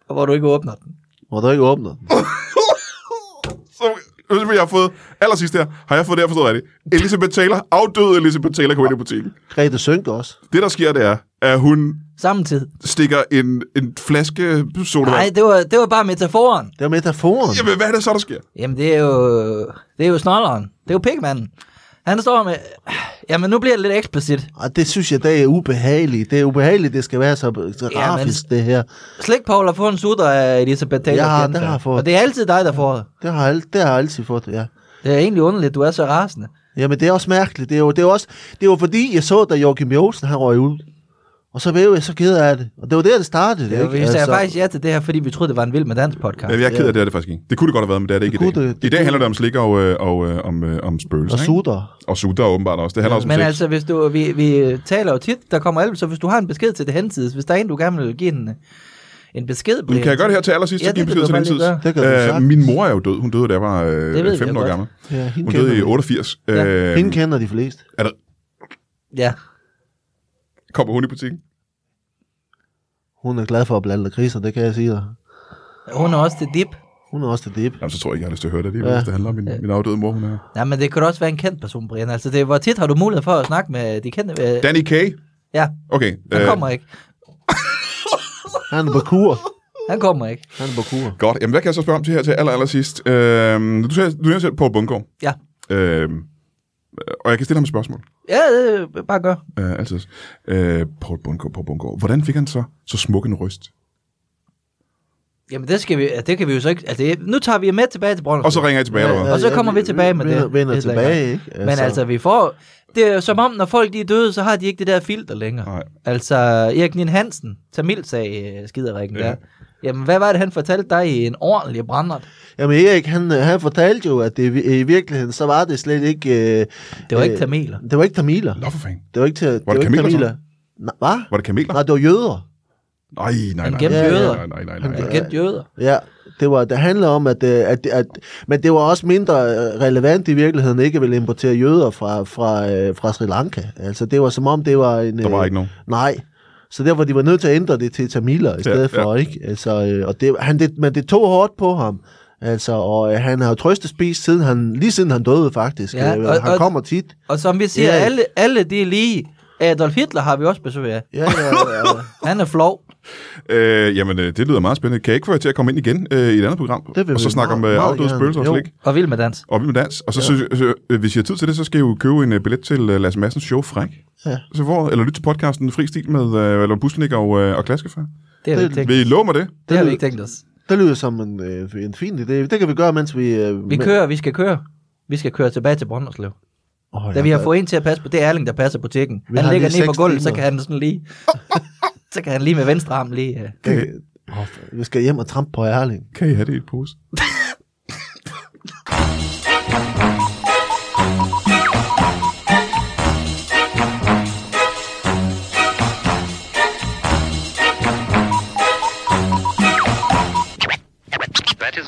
Speaker 3: hvor du ikke åbner den.
Speaker 2: hvor du ikke åbner den.
Speaker 1: Så hvis jeg har fået allersidst her, har jeg fået det, jeg forstået rigtigt. Elizabeth Taylor, afdøde Elizabeth Taylor, kom ind i butikken.
Speaker 2: Grete Sønk også.
Speaker 1: Det, der sker, det er, at hun
Speaker 3: Samtidig.
Speaker 1: stikker en, en flaske
Speaker 3: Nej,
Speaker 1: sodavand.
Speaker 3: det var, det var bare metaforen.
Speaker 2: Det var metaforen.
Speaker 1: Jamen, hvad er det så, der sker?
Speaker 3: Jamen, det er jo, det er jo snolleren. Det er jo pigmanden. Han står med... Jamen, nu bliver det lidt eksplicit.
Speaker 2: Og Ah, det synes jeg, det er ubehageligt. Det er ubehageligt, det skal være så, så
Speaker 3: Ja, men-
Speaker 2: grafisk, det her.
Speaker 3: Slik Paul har fået en sutter af Elisabeth Taylor.
Speaker 2: Jeg har-
Speaker 3: Jensen.
Speaker 2: det har jeg fået.
Speaker 3: Og det er altid dig, der får det.
Speaker 2: Det har, al- det har jeg altid fået, ja.
Speaker 3: Det er egentlig underligt, du er så rasende.
Speaker 2: Jamen, det er også mærkeligt. Det er jo, det er også, det er jo fordi, jeg så, da Joachim Jolsen, han røg ud. Og så blev jeg så ked af det. Og det var der, det startede.
Speaker 3: Det er,
Speaker 2: ikke? Altså,
Speaker 3: vi sagde faktisk ja til det her, fordi vi troede, det var en vild med dans podcast.
Speaker 1: Ja, jeg er ked af det, det er det faktisk ikke. Det kunne det godt have været, men det er det,
Speaker 2: Det
Speaker 1: ikke i dag.
Speaker 2: kunne det- det
Speaker 1: I dag
Speaker 2: kunne-
Speaker 1: handler det om slik og, øh, og øh, om, øh, om spøgelser,
Speaker 2: og
Speaker 1: ikke?
Speaker 2: sutter.
Speaker 1: Og sutter åbenbart også. Det handler også om
Speaker 3: Men
Speaker 1: sex.
Speaker 3: altså, hvis du, vi, vi taler jo tit, der kommer alle, så hvis du har en besked til det hensides, hvis der er en, du gerne vil give en, en besked på
Speaker 1: Men kan jeg gøre det her til allersidst?
Speaker 3: Ja,
Speaker 1: Ja, give en
Speaker 3: det
Speaker 1: besked til
Speaker 3: kan
Speaker 1: den
Speaker 3: du
Speaker 1: tid. Øh,
Speaker 3: bare lige
Speaker 2: gøre. Det kan du sagtens.
Speaker 1: min mor er jo død. Hun døde, da jeg var øh,
Speaker 3: Det ved jeg
Speaker 1: 15 år
Speaker 3: godt.
Speaker 1: gammel.
Speaker 2: Ja, hende
Speaker 1: Hun døde i
Speaker 2: kender,
Speaker 1: 88.
Speaker 3: Ja.
Speaker 1: Øh,
Speaker 2: hende kender de fleste.
Speaker 1: er der,
Speaker 3: Ja,
Speaker 1: kommer hun i butikken?
Speaker 2: Hun er glad for at blande kriser, det kan jeg sige dig.
Speaker 3: hun er også til dip.
Speaker 2: Hun er også til dip.
Speaker 1: Jamen, så tror jeg ikke, jeg har lyst til at høre det alligevel,
Speaker 2: Ja.
Speaker 1: hvis det handler om min, min afdøde mor, hun er.
Speaker 3: Ja, men det kan da også være en kendt person, Brian. Altså, det, hvor tit har du mulighed for at snakke med de kendte? Øh,
Speaker 1: Danny K.
Speaker 3: ja,
Speaker 1: Okay. øh,
Speaker 3: han kommer ikke.
Speaker 2: Han er på kur.
Speaker 3: Han kommer ikke.
Speaker 2: Han er på kur.
Speaker 1: Godt. Jamen, hvad kan jeg så spørge om til her til aller, aller sidst? Øh, du sagde, du nævnte selv Poul Bundgaard.
Speaker 3: Ja,
Speaker 1: Øh, og jeg kan stille ham et spørgsmål.
Speaker 3: ja øh, bare gør.
Speaker 1: Øh, altid. Øh, Poul Bundgaard, Poul Bundgaard. Hvordan fik han så så smuk en ryst?
Speaker 3: Jamen, det, skal vi, ja, det kan vi jo så ikke... Altså, det- nu tager vi med tilbage til Brøndby.
Speaker 1: Og så ringer jeg tilbage, eller hvad?
Speaker 3: Og så kommer vi tilbage med det.
Speaker 2: Vender, vender
Speaker 3: Lidt længere.
Speaker 2: tilbage, ikke?
Speaker 3: Men altså, vi får... Det er jo som om, når folk de er døde, så har de ikke det der filter længere.
Speaker 1: Nej.
Speaker 3: Altså, Erik Nien Hansen, Tamil-sag, øh, skiderikken
Speaker 1: Ja.
Speaker 3: ja. der. Jamen, hvad var det, han fortalte dig i en ordentlig brændert?
Speaker 2: Jamen Erik, han, øh, han fortalte jo, at det, i vi- i virkeligheden, så var det slet ikke... Øh,
Speaker 3: Det var ikke tamiler.
Speaker 2: Det var ikke tamiler.
Speaker 1: Nå for fanden.
Speaker 2: Det var ikke, til, det var
Speaker 1: det
Speaker 2: ikke
Speaker 1: kameler, så?
Speaker 2: tamiler. Nej, hvad?
Speaker 1: Var det kameler?
Speaker 2: Nej, det var jøder.
Speaker 1: Nej, nej,
Speaker 3: Han
Speaker 1: nej.
Speaker 3: gemte
Speaker 1: nej,
Speaker 3: jøder.
Speaker 1: nej, nej, nej,
Speaker 2: Han
Speaker 1: nej.
Speaker 2: gemte-
Speaker 3: Gæt jøder.
Speaker 2: Ja, det, var, det handler om, at, øh, at, at... Men det var også mindre øh, relevant i virkeligheden, ikke at ville importere jøder fra, fra, øh, fra Sri Lanka. Altså, det var som om, det var en...
Speaker 1: Der var
Speaker 2: øh,
Speaker 1: ikke nogen.
Speaker 2: Nej. Så derfor de var nødt til at ændre det til tamiler i stedet ja,
Speaker 1: ja.
Speaker 2: for, ikke? Altså, øh, og det, han, det, men det tog hårdt på ham. Altså, og øh, han har jo trøstespist siden han, lige siden han døde, faktisk.
Speaker 3: Ja,
Speaker 2: Ja, øh,
Speaker 3: og-
Speaker 2: han
Speaker 3: og-
Speaker 2: kommer tit.
Speaker 3: Og som vi siger,
Speaker 2: Ja.
Speaker 3: alle, alle det er lige. Adolf Hitler har vi også besøg af.
Speaker 2: Ja, ja, ja,
Speaker 3: *laughs*
Speaker 2: ja.
Speaker 3: Han er flov.
Speaker 1: Øh, jamen, øh, det lyder meget spændende. Kan jeg ikke få jer til at komme ind igen øh, i et andet program?
Speaker 2: Det vil
Speaker 1: og så
Speaker 2: vi
Speaker 1: snakke om
Speaker 2: meget,
Speaker 1: øh,
Speaker 2: meget
Speaker 1: afdøde
Speaker 2: gerne.
Speaker 1: spøgelser og
Speaker 2: Jo.
Speaker 1: slik.
Speaker 3: Og vild med dans.
Speaker 1: Og vi med dans. Og så, så, så øh, hvis I har tid til det, så skal I jo købe en øh, billet til øh, Lasse Madsens show Fræk.
Speaker 2: Ja.
Speaker 1: Så får, eller lyt til podcasten Fri Stil med øh, eller Busnik og, øh, og Klaskefar.
Speaker 3: Det har vi ikke tænkt,
Speaker 1: Vil I love mig det?
Speaker 3: det har vi ikke tænkt os.
Speaker 2: Det lyder som en, øh, en fin idé. Det kan vi gøre, mens vi... Øh,
Speaker 3: Vi kører, vi skal køre. Vi skal køre tilbage til Brønderslev.
Speaker 2: Oh,
Speaker 3: Da vi har fået en til at passe på, det er Erling, der passer på tjekken.
Speaker 2: Vi
Speaker 3: Han
Speaker 2: har
Speaker 3: ligger
Speaker 2: lige
Speaker 3: ned på
Speaker 2: seks
Speaker 3: gulvet, så
Speaker 2: timer.
Speaker 3: kan han sådan lige... *laughs* så kan han lige med venstre arm lige... øh.
Speaker 2: Kan, oh, for- vi skal hjem og trampe på Erling.
Speaker 1: Kan I have det i et pose?
Speaker 5: That is